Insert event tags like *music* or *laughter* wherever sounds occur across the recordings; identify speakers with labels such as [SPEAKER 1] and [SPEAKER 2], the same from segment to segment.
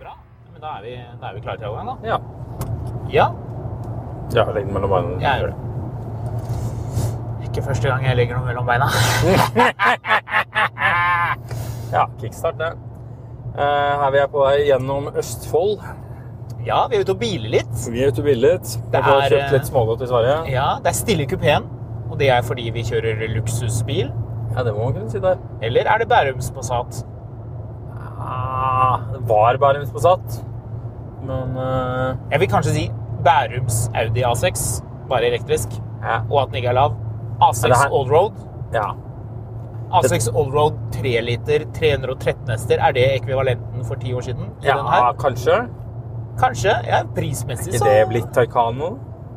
[SPEAKER 1] Bra. Ja, men da er vi, da er vi klare til overgang, da.
[SPEAKER 2] Ja.
[SPEAKER 1] Ja,
[SPEAKER 2] ja legg den mellom beina.
[SPEAKER 1] jeg gjør det. Ikke første gang jeg legger noe mellom beina. *laughs*
[SPEAKER 2] Ja, kickstart det. Eh, her vi er på vei gjennom Østfold.
[SPEAKER 1] Ja, vi er ute og biler litt.
[SPEAKER 2] Vi er ute og bildet. Jeg har
[SPEAKER 1] er, eh,
[SPEAKER 2] kjøpt litt smågodt i Sverige.
[SPEAKER 1] Ja, det er stille i kupeen, og det er fordi vi kjører luksusbil.
[SPEAKER 2] Ja, det må man kunne si der.
[SPEAKER 1] Eller er det Bærums Passat?
[SPEAKER 2] Ah, det var Bærums Passat. Men eh,
[SPEAKER 1] Jeg vil kanskje si Bærums Audi A6, bare elektrisk,
[SPEAKER 2] ja.
[SPEAKER 1] og at den ikke er lav. A6
[SPEAKER 2] Ja, det her-
[SPEAKER 1] Allroad.
[SPEAKER 2] ja.
[SPEAKER 1] A6 Allroad 3 liter 313 hester, er det ekvivalenten for ti år siden? i den
[SPEAKER 2] ja
[SPEAKER 1] her?
[SPEAKER 2] kanskje.
[SPEAKER 1] Kanskje. Ja, prismessig
[SPEAKER 2] Er
[SPEAKER 1] så
[SPEAKER 2] det blitt Taycano?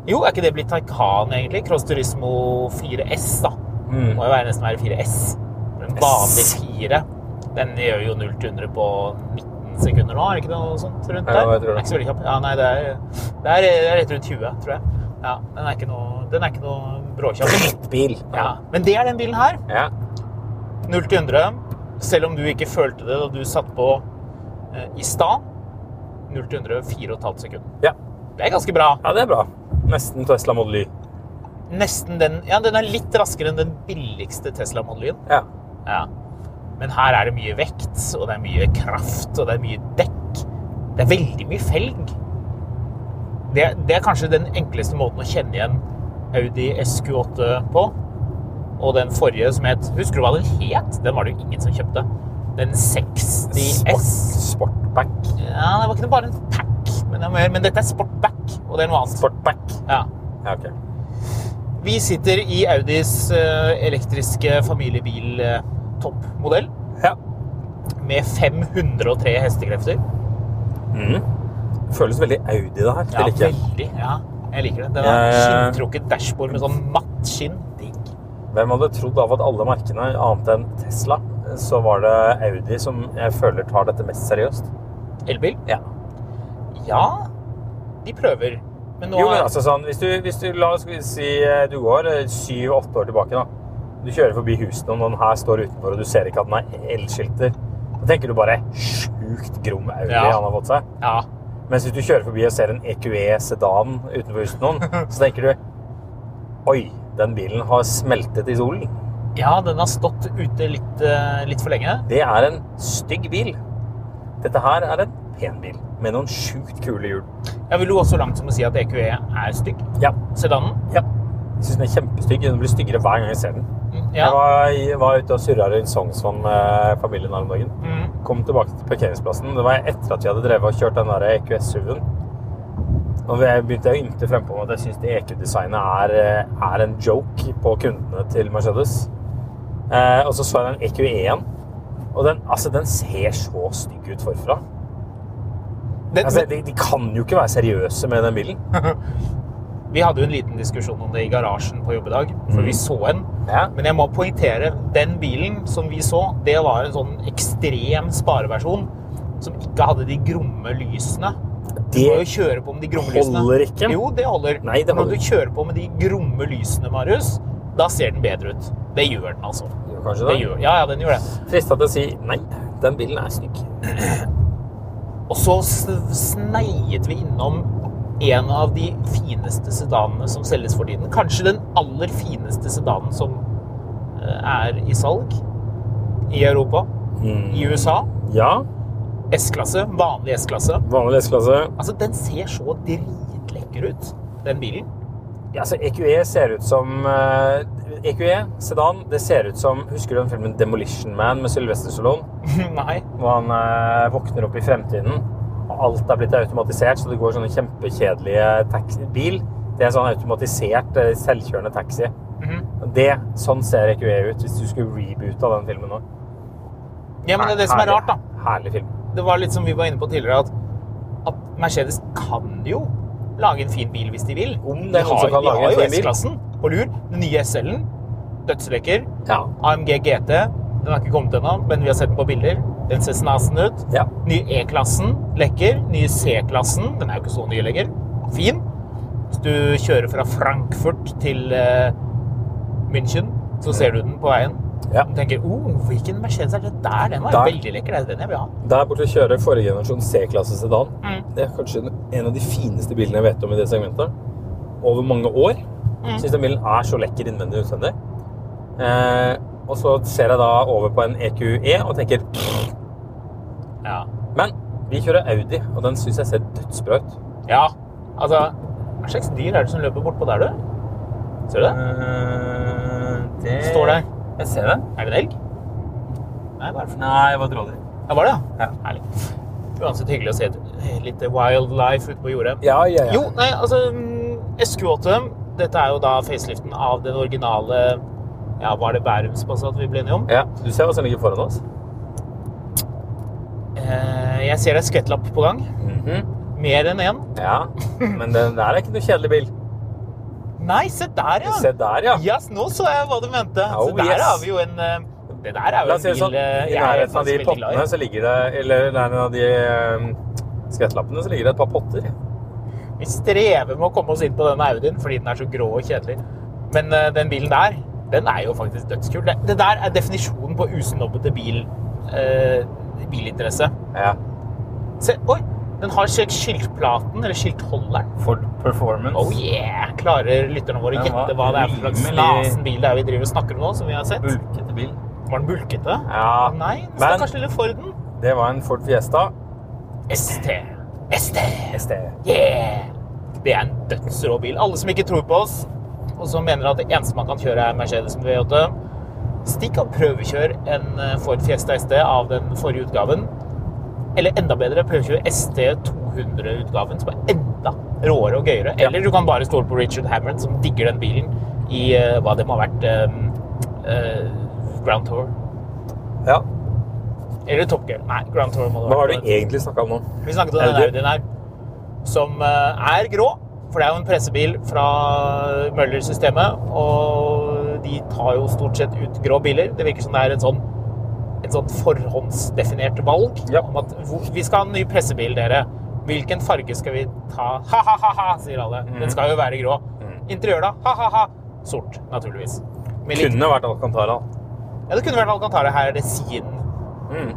[SPEAKER 1] Jo, er ikke det blitt Taycan, egentlig? Cross Turismo 4S, da.
[SPEAKER 2] Mm.
[SPEAKER 1] Må jo være nesten være 4S. En vanlig 4. Den gjør jo 0 til 100 på 19 sekunder nå, er det ikke noe sånt rundt
[SPEAKER 2] Ja,
[SPEAKER 1] der?
[SPEAKER 2] jeg tror det.
[SPEAKER 1] Er ikke så veldig kjapp. Ja, nei, det er, det er, det er rett rundt 20, tror jeg. Ja, den er ikke noe, den er ikke noe bråkjapp.
[SPEAKER 2] Bil.
[SPEAKER 1] Ja. Men det er den bilen her.
[SPEAKER 2] Ja.
[SPEAKER 1] 0 til 100. Selv om du ikke følte det da du satt på eh, i stad. 0 til 100, 4,5 sekunder.
[SPEAKER 2] Ja.
[SPEAKER 1] Det er ganske bra.
[SPEAKER 2] ja, det er bra. Nesten Tesla Model Y.
[SPEAKER 1] Nesten den Ja, den er litt raskere enn den billigste Tesla Model Y-en.
[SPEAKER 2] Ja.
[SPEAKER 1] Ja. Men her er det mye vekt, og det er mye kraft, og det er mye dekk. Det er veldig mye felg. Det, det er kanskje den enkleste måten å kjenne igjen Audi SQ8 på. Og den forrige som het Husker du hva den het? Den var det jo ingen som kjøpte. Den 60S.
[SPEAKER 2] Sport, sportback.
[SPEAKER 1] Ja, det var ikke bare en pack, men, det var mer- men dette er Sportback, og det er noe annet.
[SPEAKER 2] Sportback.
[SPEAKER 1] Ja.
[SPEAKER 2] Ja, ok.
[SPEAKER 1] Vi sitter i Audis eh, elektriske familiebil-toppmodell
[SPEAKER 2] Ja.
[SPEAKER 1] med 503 hestekrefter.
[SPEAKER 2] Mm. Føles veldig Audi, det her. Det liker jeg.
[SPEAKER 1] veldig. Ja, jeg liker det. Den
[SPEAKER 2] Ja,
[SPEAKER 1] har
[SPEAKER 2] ja, ja.
[SPEAKER 1] skinntrukket dashbord med sånn matt skinn. Digg.
[SPEAKER 2] Hvem hadde trodd av at alle merkene, annet enn Tesla, så var det Audi som jeg føler tar dette mest seriøst?
[SPEAKER 1] Elbil?
[SPEAKER 2] Ja.
[SPEAKER 1] Ja, de prøver. Men nå
[SPEAKER 2] Jo, men
[SPEAKER 1] er-
[SPEAKER 2] altså sånn, hvis du, hvis du la oss si eh, du går eh, syv-åtte år tilbake, da. Du kjører forbi husene, og den her står utenfor, og du ser ikke at den er elskilter. Da tenker du bare sjukt grom Audi
[SPEAKER 1] Ja.
[SPEAKER 2] han har fått seg.
[SPEAKER 1] ja,
[SPEAKER 2] Mens hvis du kjører forbi og ser en EQE sedan utenfor huset noen, så tenker du Oi, den bilen har smeltet i solen.
[SPEAKER 1] ja, den har stått ute litt, eh, litt for lenge.
[SPEAKER 2] Det er en stygg bil. Dette her er en pen bil med noen sjukt kule hjul.
[SPEAKER 1] Jeg vil jo gå så langt som å si at EQE er stygg.
[SPEAKER 2] Ja.
[SPEAKER 1] Sedanen.
[SPEAKER 2] ja. Jeg syns den er kjempestygg. Den blir styggere hver gang jeg ser den.
[SPEAKER 1] Mm, Ja.
[SPEAKER 2] Jeg, var, jeg var ute og surra rundt Sognsvann med familien her om dagen.
[SPEAKER 1] Mm.
[SPEAKER 2] Kom tilbake til parkeringsplassen. Det var etter at jeg hadde drevet og kjørt den der E EQS-SUV-en. Og jeg begynte å ymte frempå at jeg syns EQ-designet er, eh, er en joke på kundene til Mercedes. Eh, og så så jeg den EQE-en. Og den, altså, den ser så stygg ut forfra.
[SPEAKER 1] Den,
[SPEAKER 2] Altså, de, de kan jo ikke være seriøse med
[SPEAKER 1] *laughs*
[SPEAKER 2] den bilen.
[SPEAKER 1] Vi hadde jo en liten diskusjon om det i garasjen på jobbedag, for
[SPEAKER 2] Mm.
[SPEAKER 1] vi så en.
[SPEAKER 2] Ja.
[SPEAKER 1] Men jeg må poengtere, den bilen som vi så, det var en sånn ekstrem spareversjon som ikke hadde de gromme lysene. Du
[SPEAKER 2] Det
[SPEAKER 1] må jo kjøre på med de gromme lysene.
[SPEAKER 2] holder ikke.
[SPEAKER 1] Jo, det holder.
[SPEAKER 2] Nei, det holder
[SPEAKER 1] Når du kjører på med de gromme lysene, Marius, da ser den bedre ut. Det gjør den, altså.
[SPEAKER 2] gjør kanskje
[SPEAKER 1] Det
[SPEAKER 2] det.
[SPEAKER 1] gjør, ja, ja, den gjør det.
[SPEAKER 2] Frista til å si nei, den bilen er stygg.
[SPEAKER 1] Og så s- sneiet vi innom en av de fineste sedanene som selges for tiden. Kanskje den aller fineste sedanen som eh, er i salg i Europa, i USA.
[SPEAKER 2] Ja,
[SPEAKER 1] S-klasse, vanlig S-klasse.
[SPEAKER 2] vanlig S-klasse.
[SPEAKER 1] Altså, den ser så dritlekker ut, den bilen. *laughs*
[SPEAKER 2] Ja, altså EQE ser ut som eh, EQE, sedan, det ser ut som Husker du den filmen Demolition Man med Sylvester Stallone?
[SPEAKER 1] Nei.
[SPEAKER 2] Hvor han eh, våkner opp i fremtiden, og alt er blitt automatisert, så det går sånne kjempekjedelige taxi bil. Det er en sånn automatisert, eh, selvkjørende taxi.
[SPEAKER 1] Mhm.
[SPEAKER 2] Og Det, Sånn ser EQE ut hvis du skulle reboota den filmen nå.
[SPEAKER 1] Ja, men det er det som er
[SPEAKER 2] Herlig-
[SPEAKER 1] rart, da.
[SPEAKER 2] Herlig film.
[SPEAKER 1] Det var litt som vi var inne på tidligere, at, at Mercedes kan jo lage en fin bil hvis de vil.
[SPEAKER 2] Om det
[SPEAKER 1] de
[SPEAKER 2] er noen som kan
[SPEAKER 1] de
[SPEAKER 2] lage
[SPEAKER 1] har
[SPEAKER 2] en
[SPEAKER 1] jo
[SPEAKER 2] fin bil.
[SPEAKER 1] S-klassen på lur. Den nye SL-en. Dødslekker.
[SPEAKER 2] Ja.
[SPEAKER 1] AMG GT. Den har ikke kommet ennå, men vi har sett den på bilder. Den ser snasen ut.
[SPEAKER 2] ja.
[SPEAKER 1] Nye E-klassen lekker. Nye C-klassen. Den er jo ikke så ny lenger. Fin. Hvis du kjører fra Frankfurt til eh, München, så ser du den på veien.
[SPEAKER 2] Ja.
[SPEAKER 1] Du tenker oh, 'Hvilken Mercedes er det der?' Den var
[SPEAKER 2] Der.
[SPEAKER 1] veldig lekker. Det er den jeg vil ha.
[SPEAKER 2] Der borte kjører forrige generasjon C-klasse sedan.
[SPEAKER 1] Mm.
[SPEAKER 2] Det er kanskje en av de fineste bilene jeg vet om i det segmentet. Over mange år. Mm. Syns den bilen er så lekker innvendig og utvendig. Eh, og så ser jeg da over på en EQE og tenker "Pff."
[SPEAKER 1] Ja.
[SPEAKER 2] Men vi kjører Audi, og den syns jeg ser dødsbra ut.
[SPEAKER 1] Ja, altså Hva slags dyr er det som løper bortpå der, du? Ser du det?
[SPEAKER 2] Eh, det
[SPEAKER 1] Det står der.
[SPEAKER 2] Jeg ser det.
[SPEAKER 1] Er det en elg? Nei, hva er det for noe?
[SPEAKER 2] Nei, jeg var drådig.
[SPEAKER 1] Ja, var det?
[SPEAKER 2] Ja.
[SPEAKER 1] Herlig. Uansett hyggelig å se et, litt wildlife ute på jordet.
[SPEAKER 2] Ja, ja, ja.
[SPEAKER 1] Jo, nei, altså mm, SQ8 Dette er jo da faceliften av den originale Ja, var det Bærums Passat vi ble enige om?
[SPEAKER 2] Ja, Du ser hva som ligger foran oss.
[SPEAKER 1] Eh, jeg ser ei skvettlapp på gang. Mer enn én.
[SPEAKER 2] Mhm. Ja, Men den der er ikke noe kjedelig bil.
[SPEAKER 1] Nei, se der, ja!
[SPEAKER 2] Se der, ja.
[SPEAKER 1] Yes, nå så jeg hva du mente.
[SPEAKER 2] Oh,
[SPEAKER 1] så der
[SPEAKER 2] yes.
[SPEAKER 1] har vi jo en eh, Det der er jo
[SPEAKER 2] La
[SPEAKER 1] en
[SPEAKER 2] oss si det
[SPEAKER 1] bil
[SPEAKER 2] sånn,
[SPEAKER 1] eh,
[SPEAKER 2] I
[SPEAKER 1] jeg er
[SPEAKER 2] nærheten av de
[SPEAKER 1] faktisk veldig glad i.
[SPEAKER 2] pottene så ligger det Eller i nærheten av de eh, skvettlappene så ligger det et par potter.
[SPEAKER 1] Vi strever med å komme oss inn på denne Audien fordi den er så grå og kjedelig. Men eh, den bilen der, den er jo faktisk dødskul. Det, det der er definisjonen på usnobbete bil, eh, bilinteresse.
[SPEAKER 2] Ja.
[SPEAKER 1] Se, oi! Den har skilt- skiltplaten, eller skiltholderen.
[SPEAKER 2] Ford Performance.
[SPEAKER 1] Oh yeah! Klarer lytterne våre å
[SPEAKER 2] Den var
[SPEAKER 1] gjette hva det er for slags
[SPEAKER 2] rimelig-
[SPEAKER 1] snasen bil det er vi driver og snakker om nå, som vi har sett?
[SPEAKER 2] Bulkete bil.
[SPEAKER 1] Var den bulkete?
[SPEAKER 2] Ja,
[SPEAKER 1] Nei, den
[SPEAKER 2] men-
[SPEAKER 1] stakkars lille Forden.
[SPEAKER 2] Det var en Ford Fiesta.
[SPEAKER 1] ST. ST.
[SPEAKER 2] ST.
[SPEAKER 1] Yeah! Det er en dødsrå bil. Alle som ikke tror på oss, og som mener at det eneste man kan kjøre er Mercedes med V8, stikk og prøvekjør en eh, Ford Fiesta ST av den forrige utgaven. Eller enda bedre, prøvekjør ST200-utgaven, som er enda råere og gøyere.
[SPEAKER 2] Ja.
[SPEAKER 1] Eller du kan bare stole på Richard Hammond, som digger den bilen i eh, hva det må ha vært eh, eh, Ground Tour.
[SPEAKER 2] Ja.
[SPEAKER 1] Eller Top Gear. Nei, Ground Tour må det
[SPEAKER 2] Hva
[SPEAKER 1] ha
[SPEAKER 2] har du
[SPEAKER 1] vært.
[SPEAKER 2] egentlig snakka om nå?
[SPEAKER 1] Vi snakket om den
[SPEAKER 2] Audi.
[SPEAKER 1] Audien her, som eh, er grå. For det er jo en pressebil fra Møller-systemet, og de tar jo stort sett ut grå biler. Det virker som det er en sånn, en sånn forhåndsdefinert valg
[SPEAKER 2] Ja.
[SPEAKER 1] om at hvor- vi skal ha en ny pressebil, dere. Hvilken farge skal vi ta? Ha-ha-ha, sier alle.
[SPEAKER 2] Mhm.
[SPEAKER 1] Den skal jo være grå. Interiør, da? Ha-ha-ha. Sort, naturligvis. Med litt-
[SPEAKER 2] Kunne vært Alcantara.
[SPEAKER 1] Ja, det kunne vært Alcantara. Her er det Sien.
[SPEAKER 2] Mm.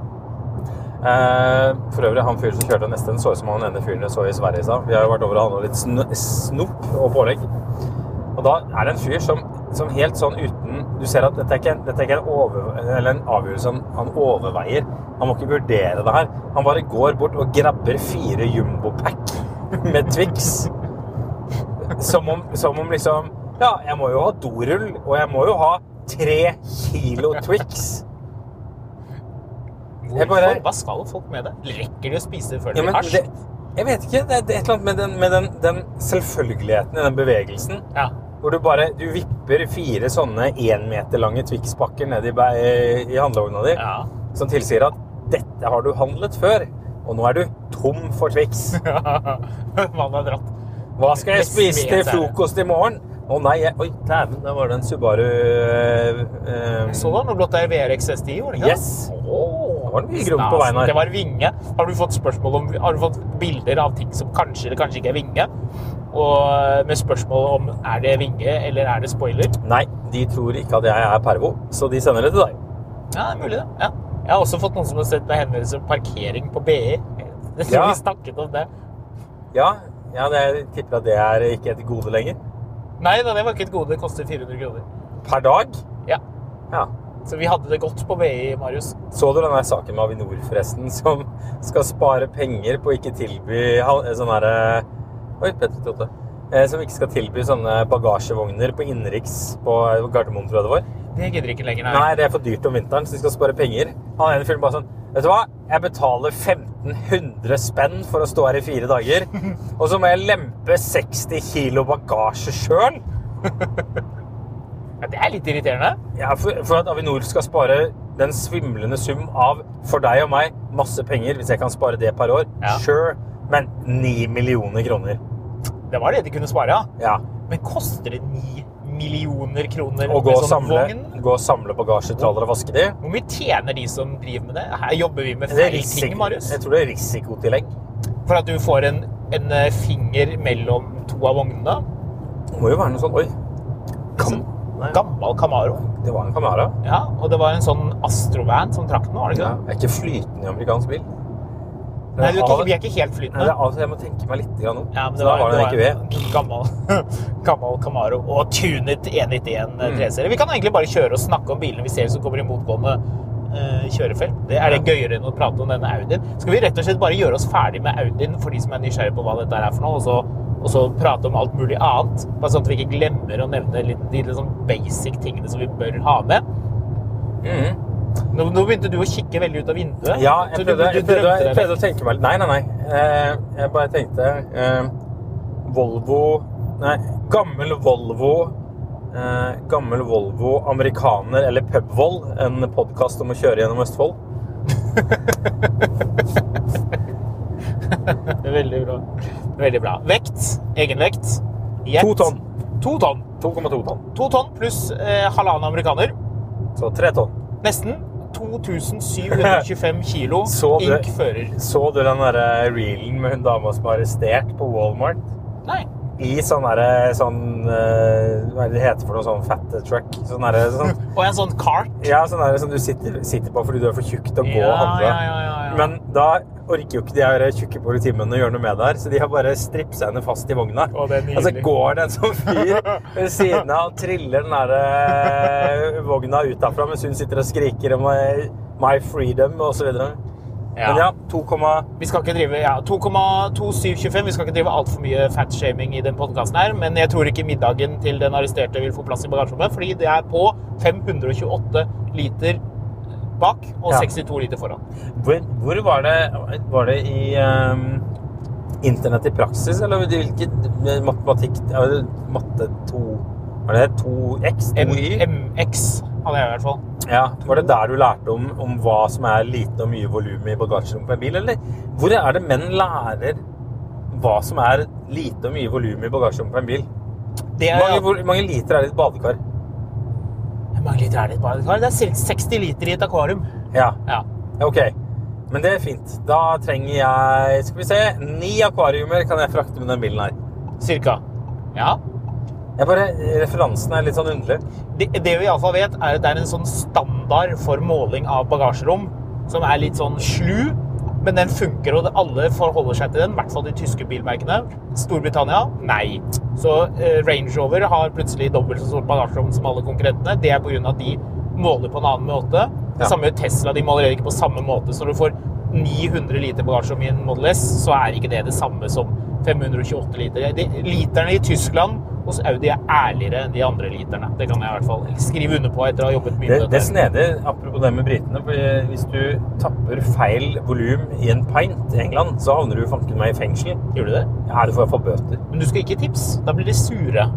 [SPEAKER 2] Eh, for øvrig, han fyren som kjørte neste, den så ut som han ene fyren jeg så i Sverige i stad. Vi har jo vært over og handla litt sn snop og pålegg. Og da er det en fyr som, som helt sånn uten Du ser at dette er ikke, en- dette er ikke en, over, eller en avgjørelse han, han overveier. Han må ikke vurdere det her. Han bare går bort og grabber fire jumbopack med Twix. Som om, som om liksom Ja, jeg må jo ha dorull, og jeg må jo ha tre kilo Twix. Jeg
[SPEAKER 1] Hvorfor?
[SPEAKER 2] bare-
[SPEAKER 1] Hva skal folk med det? Rekker de å spise før de
[SPEAKER 2] Ja,
[SPEAKER 1] blir
[SPEAKER 2] men
[SPEAKER 1] hasj?
[SPEAKER 2] det, jeg vet ikke. Det er det er et eller annet med, den, med den, den selvfølgeligheten i den bevegelsen.
[SPEAKER 1] Ja.
[SPEAKER 2] Hvor du bare du vipper fire sånne én meter lange Twix-pakker ned i, bæ- i handlevogna di.
[SPEAKER 1] Ja.
[SPEAKER 2] Som tilsier at 'dette har du handlet før', og nå er du tom for Twix.
[SPEAKER 1] *laughs* Man har dratt.
[SPEAKER 2] Hva skal jeg
[SPEAKER 1] Det
[SPEAKER 2] spise
[SPEAKER 1] smet
[SPEAKER 2] til
[SPEAKER 1] seg.
[SPEAKER 2] frokost i morgen? Å nei, jeg, oi, dæven, der var det en Subaru eh, eh,
[SPEAKER 1] Så da, Sånn, nå blått der VRX STI, var det ikke det?
[SPEAKER 2] Yes.
[SPEAKER 1] Åh,
[SPEAKER 2] Det var mye grums på
[SPEAKER 1] snasen.
[SPEAKER 2] veien her.
[SPEAKER 1] Det var vinge. Har du fått spørsmål om, har du fått bilder av ting som kanskje eller kanskje ikke er vinge? Og eh, med spørsmål om er det vinge eller er det spoiler?
[SPEAKER 2] Nei, de tror ikke at jeg er pervo, så de sender det til deg.
[SPEAKER 1] *laughs* Ja, det er mulig det. Ja. Jeg har også fått noen som har sett meg henvendelse om parkering på BI. Jeg tror
[SPEAKER 2] Ja.
[SPEAKER 1] vi snakket om det.
[SPEAKER 2] Ja, ja det, jeg tipper at det er ikke et gode lenger.
[SPEAKER 1] Nei da, det var ikke et gode. Det koster 400 kroner.
[SPEAKER 2] Per dag?
[SPEAKER 1] Ja.
[SPEAKER 2] Ja.
[SPEAKER 1] Så vi hadde det godt på BI, Marius.
[SPEAKER 2] Så du den der saken med Avinor forresten, *laughs* som skal spare penger på å ikke tilby hal- sånn her Oi, Petter Totte. Eh, Som ikke skal tilby sånne bagasjevogner på innenriks på Gardermoen, tror jeg det var.
[SPEAKER 1] Det gidder ikke lenger, nei.
[SPEAKER 2] Nei, det er for dyrt om vinteren, så de skal spare penger. Han ene fyren bare sånn Vet du hva? Jeg betaler 1500 spenn for å stå her i fire dager, og så må jeg lempe 60 kilo bagasje sjøl.
[SPEAKER 1] Ja, det er litt irriterende.
[SPEAKER 2] Ja, for, for at Avinor skal spare den svimlende sum av, for deg og meg, masse penger, hvis jeg kan spare det per år,
[SPEAKER 1] Ja.
[SPEAKER 2] sure, men 9 millioner kroner.
[SPEAKER 1] Det var det de kunne spare, ja.
[SPEAKER 2] Ja,
[SPEAKER 1] Men koster det 9 millioner kroner
[SPEAKER 2] og gå
[SPEAKER 1] med sånn
[SPEAKER 2] og, samle,
[SPEAKER 1] vogn?
[SPEAKER 2] gå og samle bagasjetraller og vaske de.
[SPEAKER 1] Hvor mye tjener de som driver med det? Her jobber vi med
[SPEAKER 2] Det er
[SPEAKER 1] feil
[SPEAKER 2] risiko-
[SPEAKER 1] ting, Marius.
[SPEAKER 2] Jeg tror det er risikotillegg.
[SPEAKER 1] For at du får en, en eh, finger mellom to av vognene.
[SPEAKER 2] Det må jo være noe sånn, oi,
[SPEAKER 1] Kam
[SPEAKER 2] sånn.
[SPEAKER 1] gammel Camaro.
[SPEAKER 2] det var en kamera.
[SPEAKER 1] Ja, og det var en sånn Astrovan som trakk den, var det ikke
[SPEAKER 2] Ja.
[SPEAKER 1] det?
[SPEAKER 2] Jeg er ikke flytende i amerikansk bil.
[SPEAKER 1] Nei, du er ikke,
[SPEAKER 2] av-
[SPEAKER 1] vi er ikke helt
[SPEAKER 2] Nei, det
[SPEAKER 1] flytende.
[SPEAKER 2] er av og til jeg må tenke meg litt grann om.
[SPEAKER 1] Ja, men
[SPEAKER 2] Så da var det en E EQV.
[SPEAKER 1] en gammel, *laughs* gammel Camaro og tunet 191
[SPEAKER 2] Mm.
[SPEAKER 1] 3-serie. Vi kan egentlig bare kjøre og snakke om bilene vi ser som kommer i motgående eh, kjørefelt. Det er det gøyere enn å prate om denne Audien. Skal vi rett og slett bare gjøre oss ferdig med Audien for de som er nysgjerrige på hva dette er for noe, og så, og så prate om alt mulig annet? Bare sånn at vi ikke glemmer å nevne litt, de liksom basic tingene som vi bør ha med.
[SPEAKER 2] Mhm.
[SPEAKER 1] Nå, nå begynte du å kikke veldig ut av vinduet.
[SPEAKER 2] Ja, jeg
[SPEAKER 1] Så du-
[SPEAKER 2] prøvde,
[SPEAKER 1] du
[SPEAKER 2] jeg prøvde,
[SPEAKER 1] drømte
[SPEAKER 2] jeg
[SPEAKER 1] deg vekk.
[SPEAKER 2] prøvde å tenke meg litt. Nei, nei, nei. Eh, Jeg bare tenkte eh, Volvo Nei, gammel Volvo eh, Gammel Volvo, amerikaner eller Pubvoll. En podkast om å kjøre gjennom Østfold.
[SPEAKER 1] Det er Veldig bra. Veldig bra. Vekt. Egenvekt. Jet.
[SPEAKER 2] To tonn.
[SPEAKER 1] To tonn.
[SPEAKER 2] 2,2 tonn.
[SPEAKER 1] To tonn pluss eh, halvannen amerikaner.
[SPEAKER 2] Så tre tonn.
[SPEAKER 1] Nesten 2725 kilo
[SPEAKER 2] *laughs* Så det-
[SPEAKER 1] ink fører.
[SPEAKER 2] Så du den derre reelen med hun dama som var arrestert på Walmart?
[SPEAKER 1] Nei.
[SPEAKER 2] I sånn derre sånn eh, Hva er det det heter for noe sånn fat truck? Sånn derre sånn
[SPEAKER 1] *laughs* Og en sånn cart.
[SPEAKER 2] Ja, sånn er det som du sitter, sitter på fordi du er for tjukk til å gå og handle.
[SPEAKER 1] ja, ja, ja, ja.
[SPEAKER 2] Men da orker jo ikke de her tjukke politimennene å gjøre noe med det her, så de har bare stripsa henne fast i vogna.
[SPEAKER 1] Å, det er nydelig.
[SPEAKER 2] altså går det en sånn fyr ved siden av og triller den der eh, vogna ut derfra mens hun sitter og skriker om eh, my freedom og så videre.
[SPEAKER 1] Ja.
[SPEAKER 2] Men ja, 2,1
[SPEAKER 1] Vi skal ikke drive ja, 2,2725. Vi skal ikke drive altfor mye fatshaming i den podkasten her, men jeg tror ikke middagen til den arresterte vil få plass i bagasjerommet, fordi det er på 528 liter bak og
[SPEAKER 2] Ja.
[SPEAKER 1] 62 liter foran.
[SPEAKER 2] Hvor, hvor var det Var det i ehm, Internett i praksis, eller i hvilken matematikk ja, Matte 2 Var det 2x?
[SPEAKER 1] M
[SPEAKER 2] 2y?
[SPEAKER 1] MX hadde jeg i hvert fall.
[SPEAKER 2] Ja, var det der du lærte om, om hva som er lite og mye volum i bagasjerommet på en bil, eller hvor er det menn lærer hva som er lite og mye volum i bagasjerommet på en bil?
[SPEAKER 1] Det
[SPEAKER 2] Hvor
[SPEAKER 1] er,
[SPEAKER 2] mange, hvor mange liter er det i et badekar?
[SPEAKER 1] Hvor mange liter er det i et badekar? Det er cirka 60 liter i et akvarium.
[SPEAKER 2] Ja,
[SPEAKER 1] Ja.
[SPEAKER 2] ok. Men det er fint. Da trenger jeg Skal vi se. Ni akvariumer kan jeg frakte med den bilen her.
[SPEAKER 1] Cirka. Ja.
[SPEAKER 2] Jeg bare, Referansen er litt sånn underlig.
[SPEAKER 1] Det, det vi iallfall vet, er at det er en sånn standard for måling av bagasjerom som er litt sånn slu, men den funker, og alle forholder seg til den. I hvert fall de tyske bilmerkene. Storbritannia nei. Så eh, Range Rover har plutselig dobbelt så stort bagasjerom som alle konkurrentene. Det er pga. at de måler på en annen måte.
[SPEAKER 2] Ja.
[SPEAKER 1] Det samme gjør Tesla. De måler ikke på samme måte. Så når du får 900 liter bagasjerom i en Model S, så er ikke det det samme som 528 liter. De, literne i Tyskland hos Audi er ærligere enn de andre literne. Det kan jeg i hvert fall skrive under på etter å ha jobbet mye
[SPEAKER 2] Det,
[SPEAKER 1] med
[SPEAKER 2] det er
[SPEAKER 1] dette.
[SPEAKER 2] snedig, apropos det med britene. For hvis du tapper feil volum i en pint i England, så havner du fanken meg i fengsel.
[SPEAKER 1] Gjorde du det?
[SPEAKER 2] Ja, du får iallfall bøter.
[SPEAKER 1] Men du skal ikke tips. Da blir de sure.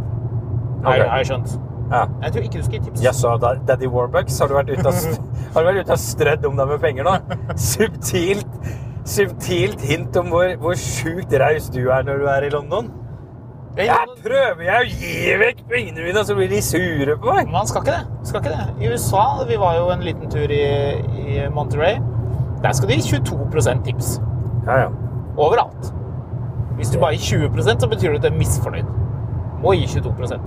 [SPEAKER 1] Har,
[SPEAKER 2] Ok.
[SPEAKER 1] har jeg skjønt.
[SPEAKER 2] Ja.
[SPEAKER 1] Jeg tror ikke du skal gi tips.
[SPEAKER 2] Jaså, da- Daddy Warbucks, har du vært ute og, st- *laughs* har du vært ute og strødd om deg med penger nå? Subtilt, subtilt hint om hvor, hvor sjukt raus du er når du er i London. Jeg prøver jeg å gi vekk pengene mine, og så blir de sure på meg.
[SPEAKER 1] Man skal ikke det. Skal ikke det. I USA vi var jo en liten tur i, i Monterey. Der skal de gi 22 tips.
[SPEAKER 2] Ja, ja.
[SPEAKER 1] Overalt. Hvis du bare gir 20 så betyr det at du er misfornøyd. Må gi 22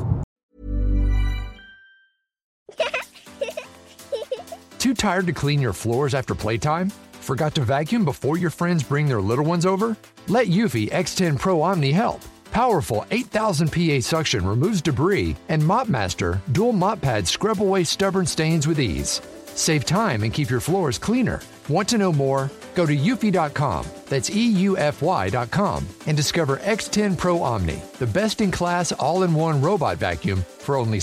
[SPEAKER 3] Too tired to clean your floors after playtime? Forgot to vacuum before your friends bring their little ones over? Let Eufy X10 Pro Omni help. Powerful 8000 PA suction removes debris, and MopMaster dual mop pads scrub away stubborn stains with ease. Save time and keep your floors cleaner. Want to know more? Go to eufy.com, that's E EUFY.com, and discover X10 Pro Omni, the best in class all in one robot vacuum for only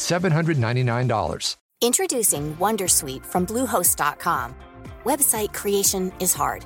[SPEAKER 3] $799.
[SPEAKER 4] Introducing WonderSuite from Bluehost.com. Website creation is hard,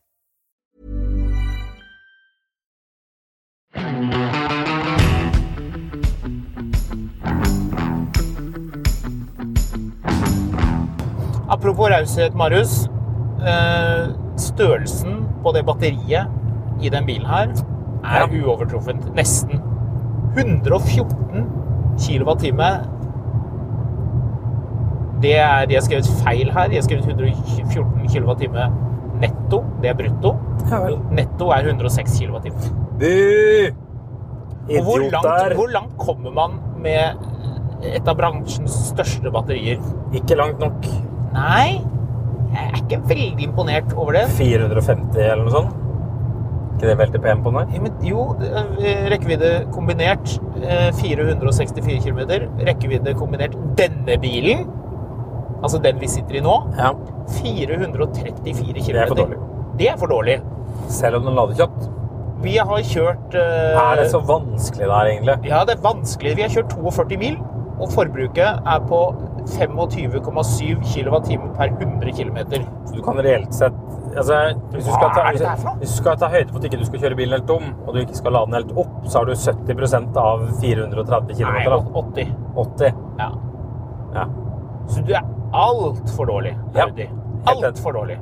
[SPEAKER 1] Apropos raushet, Marius. Eh, størrelsen på det batteriet i den bilen her er
[SPEAKER 2] Ja.
[SPEAKER 1] uovertruffent. Nesten. 114 kWh. Det er De har skrevet feil her. De har skrevet 114 kWh netto. Det er brutto.
[SPEAKER 2] Ja vel.
[SPEAKER 1] Netto er 106 kWh.
[SPEAKER 2] Du!
[SPEAKER 1] Og hvor langt,
[SPEAKER 2] Idioter!
[SPEAKER 1] hvor langt kommer man med et av bransjens største batterier?
[SPEAKER 2] Ikke langt nok.
[SPEAKER 1] Nei, jeg er ikke veldig imponert over det.
[SPEAKER 2] 450 eller noe sånt. Ikke det veldig pen på den?
[SPEAKER 1] Ja, Men jo, det er eh, rekkevidde kombinert eh, 464 km. Rekkevidde kombinert denne bilen, altså den vi sitter i nå,
[SPEAKER 2] Ja.
[SPEAKER 1] 434 km.
[SPEAKER 2] Det er for dårlig.
[SPEAKER 1] Det er for dårlig.
[SPEAKER 2] Selv om den lader kjapt.
[SPEAKER 1] Vi har kjørt eh,
[SPEAKER 2] Er det så vanskelig det her, egentlig?
[SPEAKER 1] Ja, det er vanskelig. Vi har kjørt 42 mil, og forbruket er på 25,7 kWh per 100 km.
[SPEAKER 2] Så du kan reelt sett altså, hvis, du skal
[SPEAKER 1] Hva
[SPEAKER 2] ta,
[SPEAKER 1] er det der for noe?
[SPEAKER 2] hvis du skal ta høyde for at ikke du skal kjøre bilen helt tom, og du ikke skal lade den helt opp, så har du 70 av 430 km.
[SPEAKER 1] Nei,
[SPEAKER 2] da.
[SPEAKER 1] 80.
[SPEAKER 2] 80.
[SPEAKER 1] Ja.
[SPEAKER 2] Ja.
[SPEAKER 1] Så du er altfor dårlig,
[SPEAKER 2] Ja.
[SPEAKER 1] Audi.
[SPEAKER 2] Helt
[SPEAKER 1] Altfor dårlig.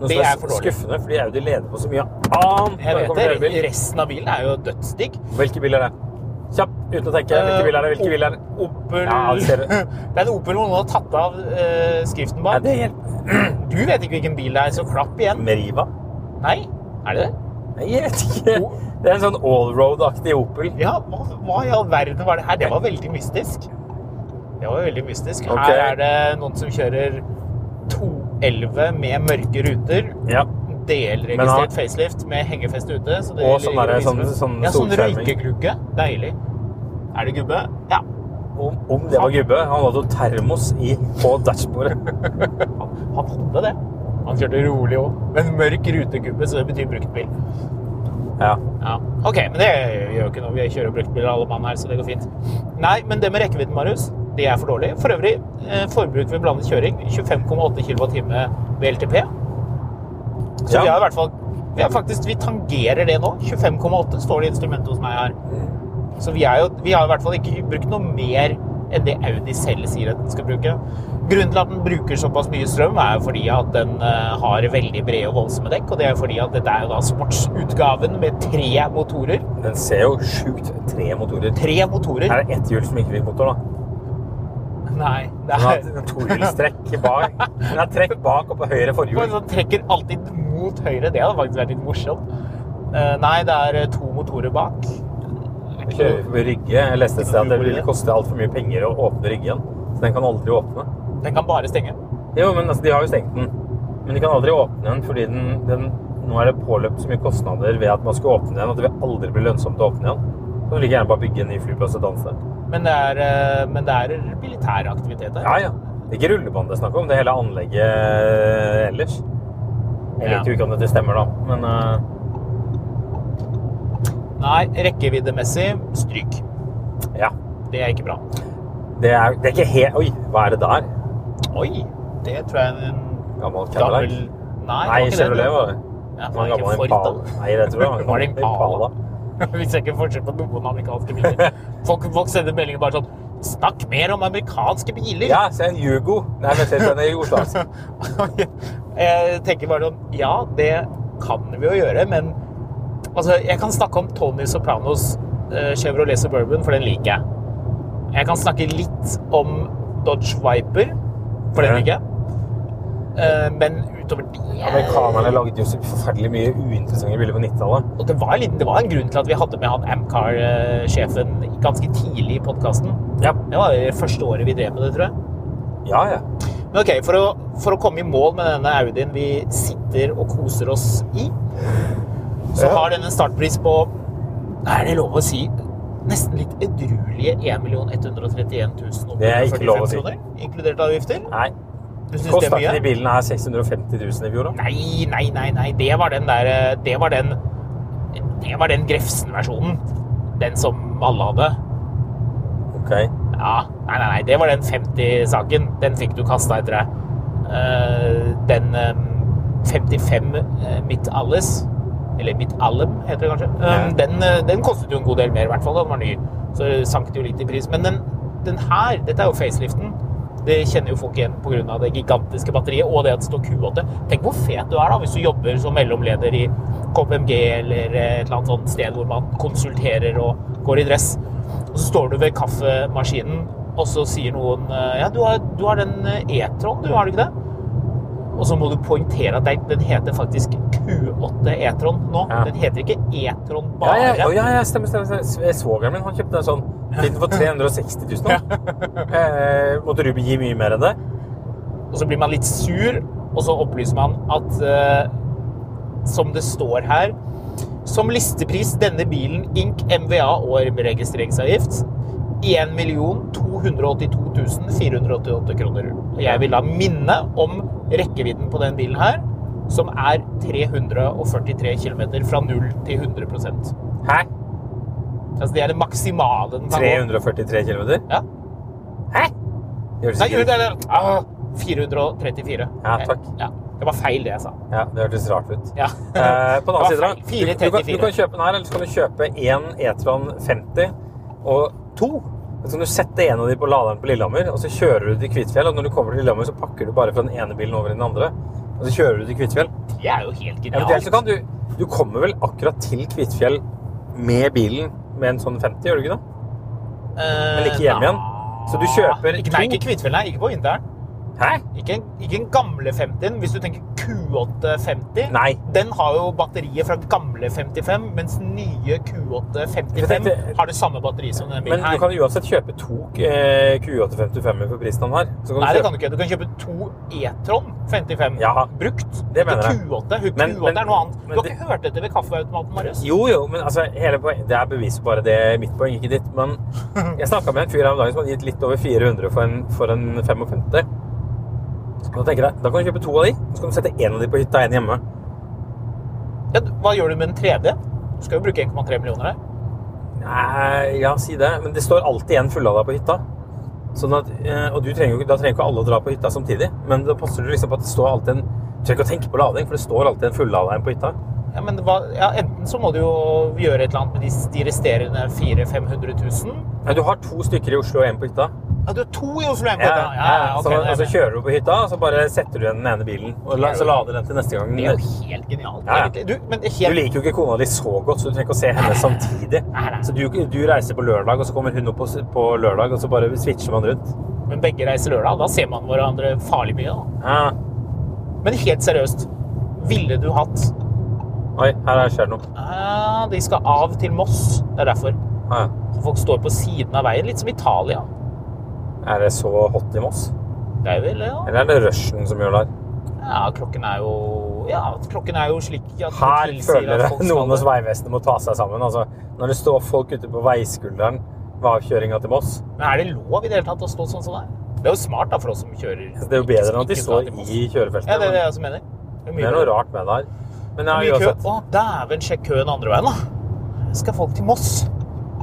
[SPEAKER 2] Noe
[SPEAKER 1] Det
[SPEAKER 2] som
[SPEAKER 1] er for dårlig.
[SPEAKER 2] skuffende, fordi Audi leder på så mye annet.
[SPEAKER 1] Jeg
[SPEAKER 2] når
[SPEAKER 1] vet
[SPEAKER 2] kommer til
[SPEAKER 1] det.
[SPEAKER 2] elbil.
[SPEAKER 1] Resten av bilen er jo dødsdigg.
[SPEAKER 2] Hvilke biler er det? Kjapp, uten å tenke. Hvilke biler er det? Hvilke biler er det?
[SPEAKER 1] Eh, Opel
[SPEAKER 2] Ja, det ser du.
[SPEAKER 1] Det er en Opel hvor noen har tatt av eh, skriften
[SPEAKER 2] Ja,
[SPEAKER 1] bak.
[SPEAKER 2] det hjelper.
[SPEAKER 1] Du vet ikke hvilken bil det er, så klapp igjen.
[SPEAKER 2] Meriva?
[SPEAKER 1] Nei, er det det?
[SPEAKER 2] Nei, jeg vet ikke. Det er en sånn allroad-aktig Opel.
[SPEAKER 1] Ja, hva, hva i all verden var det her? Det var veldig mystisk. Det var veldig mystisk.
[SPEAKER 2] Ok.
[SPEAKER 1] Her er det noen som kjører 211 med mørke ruter.
[SPEAKER 2] Ja. Men han-
[SPEAKER 1] Delregistrert facelift med hengefeste ute. Så det
[SPEAKER 2] Og sånn
[SPEAKER 1] ligger
[SPEAKER 2] der,
[SPEAKER 1] i
[SPEAKER 2] sånn-
[SPEAKER 1] vismen.
[SPEAKER 2] sånn
[SPEAKER 1] ja, sånn
[SPEAKER 2] solskjerming.
[SPEAKER 1] røykeglugge. Deilig. Er det gubbe? Ja.
[SPEAKER 2] Om, om det var gubbe. Han hadde jo termos i, på dashbordet.
[SPEAKER 1] Han, han hadde det. Han kjørte rolig òg. Men mørk rutegubbe, så det betyr bruktbil.
[SPEAKER 2] Ja.
[SPEAKER 1] Ja. OK, men det gjør jo ikke noe. Vi kjører bruktbiler alle mann her, så det går fint. Nei, men det med rekkevidden, Marius, det er for dårlig. For øvrig, eh, forbruk ved blandet kjøring 25,8 kWh ved LTP. Så
[SPEAKER 2] Ja.
[SPEAKER 1] vi har i hvert fall vi, er faktisk, vi tangerer det nå. 25,8 står det i instrumentet hos meg her. Så vi, er jo, vi har i hvert fall ikke brukt noe mer enn det Audi selv sier at den skal bruke. Grunnen til at den bruker såpass mye strøm, er jo fordi at den eh, har veldig brede og voldsomme dekk. Og det er jo fordi at dette er jo da sportsutgaven med tre motorer.
[SPEAKER 2] Den ser jo sjukt tre motorer.
[SPEAKER 1] Tre motorer?
[SPEAKER 2] Her er ett hjul som ikke fikk motor, da.
[SPEAKER 1] Nei. Det
[SPEAKER 2] Den
[SPEAKER 1] *laughs* er,
[SPEAKER 2] har tohjulstrekk bak. Den har trekk bak og på høyre
[SPEAKER 1] Men
[SPEAKER 2] forhjul.
[SPEAKER 1] den trekker alltid mot høyre. Det hadde faktisk vært litt morsomt. Eh, Nei, det er eh, to motorer bak.
[SPEAKER 2] Den Kjører forbi Rygge. Jeg leste et sted at det ville koste altfor mye penger å åpne Ryggen. Så den kan aldri åpne.
[SPEAKER 1] Den kan bare stenge.
[SPEAKER 2] Jo, men altså, de har jo stengt den. Men de kan aldri åpne den, fordi den, den nå er det påløpt så mye kostnader ved at man skal åpne den, at det vil aldri bli lønnsomt å åpne igjen. Så kan du like gjerne bare bygge en ny flyplass og danse.
[SPEAKER 1] Men det er, eh, men det er militær aktivitet her.
[SPEAKER 2] Ja, ja. Det er ikke rullebånd det er snakk om, det er hele anlegget ellers. Jeg
[SPEAKER 1] Ja.
[SPEAKER 2] vet jo ikke om dette stemmer, da, men eh,
[SPEAKER 1] Nei, rekkeviddemessig stryk.
[SPEAKER 2] ja.
[SPEAKER 1] Det er ikke bra.
[SPEAKER 2] Det er, det er ikke helt Oi, hva er det der?
[SPEAKER 1] Oi, det tror jeg er en
[SPEAKER 2] Gammel Cadillac?
[SPEAKER 1] gammel Nei,
[SPEAKER 2] Nei, Chevrolet var det.
[SPEAKER 1] Ja,
[SPEAKER 2] Det
[SPEAKER 1] det
[SPEAKER 2] var
[SPEAKER 1] var
[SPEAKER 2] en
[SPEAKER 1] ikke
[SPEAKER 2] gammel
[SPEAKER 1] Ford,
[SPEAKER 2] Impala.
[SPEAKER 1] da.
[SPEAKER 2] Nei, det tror jeg
[SPEAKER 1] *laughs* Var
[SPEAKER 2] var
[SPEAKER 1] det
[SPEAKER 2] en
[SPEAKER 1] Impala?
[SPEAKER 2] Impala.
[SPEAKER 1] *laughs* Vi ser ikke forskjell på noen amerikanske *laughs* biler. Folk, folk sender meldinger bare sånn Snakk mer om amerikanske biler!
[SPEAKER 2] Ja, se en Yugo. Nei, vent litt, den er
[SPEAKER 1] *laughs*
[SPEAKER 2] altså. jugoslavisk.
[SPEAKER 1] jeg tenker bare sånn Ja, det kan vi jo gjøre, men altså, jeg kan snakke om Tony Sopranos eh, Chevrolet Suburban, for den liker jeg. Jeg kan snakke litt om Dodge Viper, for den
[SPEAKER 2] Ja.
[SPEAKER 1] liker jeg. Eh, Men utover det
[SPEAKER 2] Amerikanerne lagde jo så forferdelig mye uinteressante biler på 90-tallet.
[SPEAKER 1] Og det var, litt, det var en grunn til at vi hadde med han Amcar-sjefen ganske tidlig i podkasten.
[SPEAKER 2] Ja.
[SPEAKER 1] Det var det første året vi drev med det, tror jeg.
[SPEAKER 2] Ja, ja.
[SPEAKER 1] Men ok, for å, for å komme i mål med denne Audien vi sitter og koser oss i, så
[SPEAKER 2] Ja.
[SPEAKER 1] har den en startpris på, er det lov å si, nesten litt edruelige 1 131 000
[SPEAKER 2] Det er ikke lov å si.
[SPEAKER 1] kroner, inkludert avgifter.
[SPEAKER 2] Nei.
[SPEAKER 1] Du synes det er
[SPEAKER 2] Kosta
[SPEAKER 1] mye?
[SPEAKER 2] ikke de bilene her 650 000 i fjor, da?
[SPEAKER 1] Nei, nei, nei, nei. Det var den der eh, Det var den Det var den Grefsen-versjonen. Den som alle hadde.
[SPEAKER 2] Ok.
[SPEAKER 1] Ja. Nei, nei, nei. Det var den 50-saken. Den fikk du kasta etter deg. Eh, Den eh, 55 eh, Mitt Alles Eller Mitt Allem, heter det kanskje. Eh,
[SPEAKER 2] Ja.
[SPEAKER 1] Den, eh, den kostet jo en god del mer, i hvert fall. da Den var ny. Så det sank det jo litt i pris. Men den, den her, dette er jo faceliften. Det kjenner jo folk igjen pga. det gigantiske batteriet og det at det står Q8. Tenk hvor fet du er da hvis du jobber som mellomleder i KPMG eller et eller annet sånt sted hvor man konsulterer og går i dress. Og så står du ved kaffemaskinen, og så sier noen eh, Ja, du har, du har den E-tron, du, har du ikke det? Og så må du poengtere at den- den heter faktisk Q8 E-tron nå.
[SPEAKER 2] Ja.
[SPEAKER 1] Den heter ikke E-tron
[SPEAKER 2] Ja,
[SPEAKER 1] bare.
[SPEAKER 2] ja, Å, ja, ja stemmer, stemmer. stemmer. S- eh, Svogeren min han kjøpte en sånn. Fikk den for 360 000. da. Eh, måtte Ruben gi mye mer enn det?
[SPEAKER 1] Og så blir man litt sur, og så opplyser man at eh, som det står her Som listepris denne bilen ink MVA og registreringsavgift 1 282 488 kroner. Jeg vil da minne om rekkevidden på den bilen her, som er 343 km fra 0 til 100 Altså
[SPEAKER 2] Hæ?
[SPEAKER 1] det er det maksimale den kan gå.
[SPEAKER 2] 343 km?
[SPEAKER 1] Ja.
[SPEAKER 2] Hæ? Det hørtes
[SPEAKER 1] Nei,
[SPEAKER 2] ikke
[SPEAKER 1] det
[SPEAKER 2] ut.
[SPEAKER 1] er det. Ah, 434.
[SPEAKER 2] Ja, takk.
[SPEAKER 1] Ja. Det var feil, det jeg sa.
[SPEAKER 2] Ja, det hørtes rart ut.
[SPEAKER 1] Ja.
[SPEAKER 2] Eh, på den
[SPEAKER 1] Det var
[SPEAKER 2] andre siden, da,
[SPEAKER 1] feil.
[SPEAKER 2] du, du, kan, du
[SPEAKER 1] 434.
[SPEAKER 2] kan kjøpe den her, eller så kan du kjøpe en E-tron 50 og to. Så kan du sette en av de på laderen på Lillehammer, og så kjører du til Kvitfjell. Og når du kommer til Lillehammer, så pakker du bare fra den ene bilen over i den andre. Og så kjører du til Kvitfjell.
[SPEAKER 1] Det er jo helt
[SPEAKER 2] Eventuelt
[SPEAKER 1] genialt.
[SPEAKER 2] så kan du Du kommer vel akkurat til Kvitfjell med bilen med en sånn 50, gjør du ikke det? Men ikke hjem igjen. Så du kjøper
[SPEAKER 1] Eh, ikke, Nei,
[SPEAKER 2] to-
[SPEAKER 1] ikke Kvitfjell, nei. Ikke på vinteren.
[SPEAKER 2] Hæ?
[SPEAKER 1] Ikke, en- ikke en gamle 50-en. Hvis du tenker Q850
[SPEAKER 2] Nei.
[SPEAKER 1] Den har jo batteriet fra gamle 55, mens nye
[SPEAKER 2] Jeg tenkte-
[SPEAKER 1] Q855 har det samme batteri som denne bilen
[SPEAKER 2] Men du
[SPEAKER 1] her.
[SPEAKER 2] kan uansett kjøpe to eh, Q855-er for prisen han har. Så kan
[SPEAKER 1] Nei, det
[SPEAKER 2] kjøpe-
[SPEAKER 1] kan du ikke. Du kan kjøpe to E-Tron 55
[SPEAKER 2] Ja,
[SPEAKER 1] brukt.
[SPEAKER 2] det mener jeg.
[SPEAKER 1] Ikke Q8. Hun
[SPEAKER 2] Men-
[SPEAKER 1] Q8 er noe
[SPEAKER 2] men-
[SPEAKER 1] annet. Du
[SPEAKER 2] men
[SPEAKER 1] har
[SPEAKER 2] det-
[SPEAKER 1] ikke hørt dette ved kaffeautomaten, Marius?
[SPEAKER 2] Jo, jo, men altså, hele poen- det er beviset bare det er mitt poeng, ikke ditt.
[SPEAKER 1] *laughs*
[SPEAKER 2] Men jeg snakka med en fyr her om dagen som hadde gitt litt over 400 for en, for en 55. Og Da tenker jeg, da kan du kjøpe to av de, og så kan du sette én av de på hytta og én hjemme.
[SPEAKER 1] Ja, hva gjør du med den tredje? Du skal jo bruke 1,3 millioner her.
[SPEAKER 2] Nei, ja, si det. Men det står alltid en full av deg på hytta. Sånn at, eh, og du trenger jo, ikke- da trenger ikke alle å dra på hytta samtidig. Men da passer du liksom på at det står alltid en Du trenger ikke å tenke på lading, for det står alltid en full av deg på hytta.
[SPEAKER 1] Ja, men hva, ja, enten så må du jo gjøre et eller annet med de, de resterende 400 000.
[SPEAKER 2] Nei, du har to stykker i Oslo og én på hytta. Eh,
[SPEAKER 1] Ja, du har to i Oslo M-kort, ja. ja, ja, ok,
[SPEAKER 2] så, altså
[SPEAKER 1] det er
[SPEAKER 2] og så
[SPEAKER 1] det.
[SPEAKER 2] kjører du på hytta, og så bare setter du igjen den ene bilen. Og la, så lader den til neste gang.
[SPEAKER 1] det er jo helt genialt,
[SPEAKER 2] Ja, ja.
[SPEAKER 1] egentlig. Du, men helt,
[SPEAKER 2] Du liker jo ikke kona di så godt, så du trenger ikke å se henne samtidig.
[SPEAKER 1] Nei, nei.
[SPEAKER 2] Så du, du reiser på lørdag, og så kommer hun opp på, s- på lørdag, og så bare switcher man rundt.
[SPEAKER 1] men begge reiser lørdag, da ser man hverandre farlig mye. Da.
[SPEAKER 2] Ja.
[SPEAKER 1] Men helt seriøst, ville du hatt
[SPEAKER 2] Oi, her skjer det noe.
[SPEAKER 1] ah, De skal av til Moss, det er derfor.
[SPEAKER 2] Ah, Ja.
[SPEAKER 1] Så folk står på siden av veien, litt som Italia.
[SPEAKER 2] Er det så hot i Moss?
[SPEAKER 1] Det er vel, ja.
[SPEAKER 2] Eller er det rushen som gjør det her?
[SPEAKER 1] ja klokken er jo ja, klokken er jo slik at det
[SPEAKER 2] Her
[SPEAKER 1] tilsier
[SPEAKER 2] føler
[SPEAKER 1] at
[SPEAKER 2] jeg
[SPEAKER 1] folk skal-
[SPEAKER 2] noen hos Vegvesenet må ta seg sammen. Altså, når det står folk ute på veiskulderen ved avkjøringa til Moss,
[SPEAKER 1] Men er det lov i det hele tatt å stå sånn som det er? Det er jo smart da for oss som kjører.
[SPEAKER 2] altså, det er jo bedre enn at de
[SPEAKER 1] Ikke
[SPEAKER 2] står
[SPEAKER 1] til Moss.
[SPEAKER 2] i kjørefeltet.
[SPEAKER 1] Ja, det er det
[SPEAKER 2] men
[SPEAKER 1] jeg som mener. Det er,
[SPEAKER 2] det
[SPEAKER 1] mye
[SPEAKER 2] er noe
[SPEAKER 1] bedre.
[SPEAKER 2] rart med det her. Men
[SPEAKER 1] Det
[SPEAKER 2] ja,
[SPEAKER 1] er Mye
[SPEAKER 2] uansett.
[SPEAKER 1] kø. Å, dæven, sjekk køen andre veien, da. Skal folk til Moss?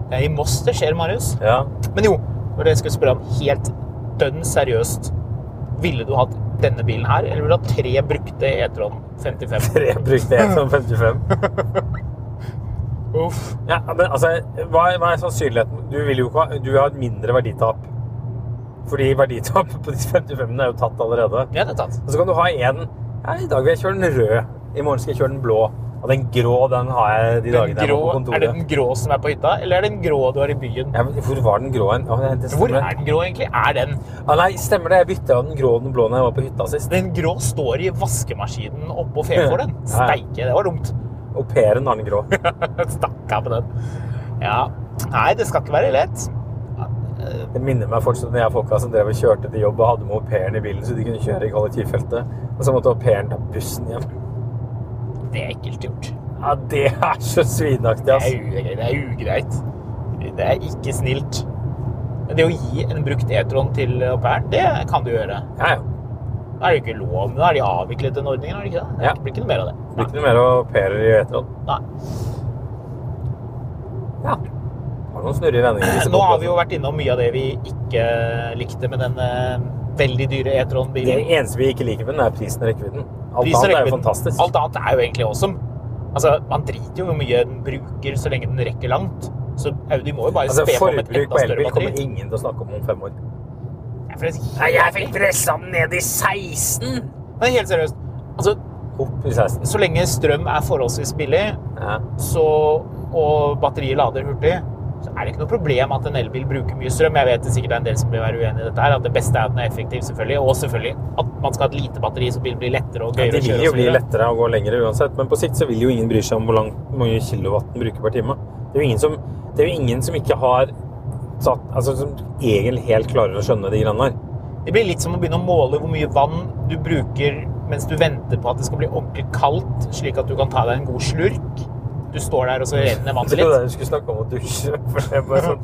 [SPEAKER 1] Det er i Moss det skjer, Marius.
[SPEAKER 2] Ja.
[SPEAKER 1] Men jo, når jeg skulle spørre om helt dønn seriøst Ville du hatt denne bilen her, eller ville du hatt tre brukte E-tron 55?
[SPEAKER 2] *laughs* Tre brukte en som 55.
[SPEAKER 1] Uff.
[SPEAKER 2] Ja, men altså, hva er, hva er sannsynligheten? Du vil jo ikke ha, du vil ha et mindre verditap. Fordi verditap på de 55-ene er jo tatt allerede.
[SPEAKER 1] Ja, det er tatt.
[SPEAKER 2] Og så kan du ha en, ja, i dag vil jeg kjøre den rød, i morgen skal jeg kjøre den blå. Og den grå, den har jeg de
[SPEAKER 1] Den
[SPEAKER 2] dagene jeg
[SPEAKER 1] grå,
[SPEAKER 2] var på
[SPEAKER 1] er det
[SPEAKER 2] kontoret.
[SPEAKER 1] den grå som er på hytta, eller er det den grå du har i byen?
[SPEAKER 2] Ja, men hvor var den grå hen? Å, det- det
[SPEAKER 1] Hvor
[SPEAKER 2] stemmer.
[SPEAKER 1] er den grå egentlig? Er den
[SPEAKER 2] Ah, nei, stemmer det. Jeg bytta av den grå og den blå når jeg var på hytta sist.
[SPEAKER 1] Den grå står i vaskemaskinen oppå Fefor, den.
[SPEAKER 2] Ja, ja.
[SPEAKER 1] Steike, det var
[SPEAKER 2] *laughs*
[SPEAKER 1] dumt.
[SPEAKER 2] Au pairen har den grå.
[SPEAKER 1] Stakk av på den. Ja. Nei, det skal ikke være lett.
[SPEAKER 2] Det minner meg fortsatt når jeg og folka som drev og kjørte til jobb og hadde med au pairen i bilen så de kunne kjøre i kollektivfeltet. Og så måtte au pairen ta bussen hjem.
[SPEAKER 1] Det er ekkelt gjort.
[SPEAKER 2] Ja, det er så svinaktig,
[SPEAKER 1] Det
[SPEAKER 2] ass.
[SPEAKER 1] er ugreit. Det er, ugreit. Det er ikke snilt. Men det å gi en brukt E-tron til au pairen, det kan du gjøre.
[SPEAKER 2] Ja, ja.
[SPEAKER 1] Da er det jo ikke lov. Da er de avviklet den ordningen, er det ikke det?
[SPEAKER 2] Ja.
[SPEAKER 1] Det blir ikke noe mer av det.
[SPEAKER 2] Det blir ikke noe mer au pairer i Veteran.
[SPEAKER 1] Nei.
[SPEAKER 2] Ja. Har noen snurrige vendinger i disse
[SPEAKER 1] Nå har vi
[SPEAKER 2] podkastene.
[SPEAKER 1] jo vært innom mye av det vi ikke likte med den eh, veldig dyre
[SPEAKER 2] Det
[SPEAKER 1] E-tron-bilen.
[SPEAKER 2] eneste vi ikke liker med den, er prisen og rekkevidden. Alt
[SPEAKER 1] Pris og
[SPEAKER 2] annet er jo
[SPEAKER 1] rekkevidden.
[SPEAKER 2] fantastisk.
[SPEAKER 1] Alt annet er jo egentlig awesome. Altså, man driter jo i hvor mye den bruker så lenge den rekker langt. Så Audi må jo bare
[SPEAKER 2] Altså,
[SPEAKER 1] spe på med et
[SPEAKER 2] Forbruk på
[SPEAKER 1] enda større
[SPEAKER 2] elbil kommer
[SPEAKER 1] batteri.
[SPEAKER 2] ingen til å snakke om om fem år.
[SPEAKER 1] Det er forresten helt-
[SPEAKER 2] pressa den ned i 16!
[SPEAKER 1] Men helt seriøst, altså,
[SPEAKER 2] Opp i 16.
[SPEAKER 1] så lenge strøm er forholdsvis billig,
[SPEAKER 2] Ja.
[SPEAKER 1] så, og batteriet lader hurtig, så er det ikke noe problem at en elbil bruker mye strøm. Jeg vet det sikkert er en del som vil være uenig i dette her, at det beste er at den er effektiv, selvfølgelig, og selvfølgelig at man skal ha et lite batteri så bilen blir lettere og
[SPEAKER 2] Ja,
[SPEAKER 1] gøyere
[SPEAKER 2] det
[SPEAKER 1] å
[SPEAKER 2] vil
[SPEAKER 1] kjøre.
[SPEAKER 2] jo
[SPEAKER 1] og så
[SPEAKER 2] bli
[SPEAKER 1] videre.
[SPEAKER 2] lettere å gå lengre uansett, men på sikt så vil jo ingen bry seg om hvor lang- hvor mange kilowatt den bruker per time. Det er jo ingen som, det er jo ingen som ikke har satt, altså som egentlig helt klarer å skjønne de greiene der.
[SPEAKER 1] Det blir litt som å begynne å måle hvor mye vann du bruker mens du venter på at det skal bli ordentlig kaldt, slik at du kan ta deg en god slurk. Du står der, og så renner *laughs*
[SPEAKER 2] Det
[SPEAKER 1] vannet
[SPEAKER 2] er jo
[SPEAKER 1] litt.
[SPEAKER 2] det du skulle snakke om å dusje, *laughs* for det er bare sånn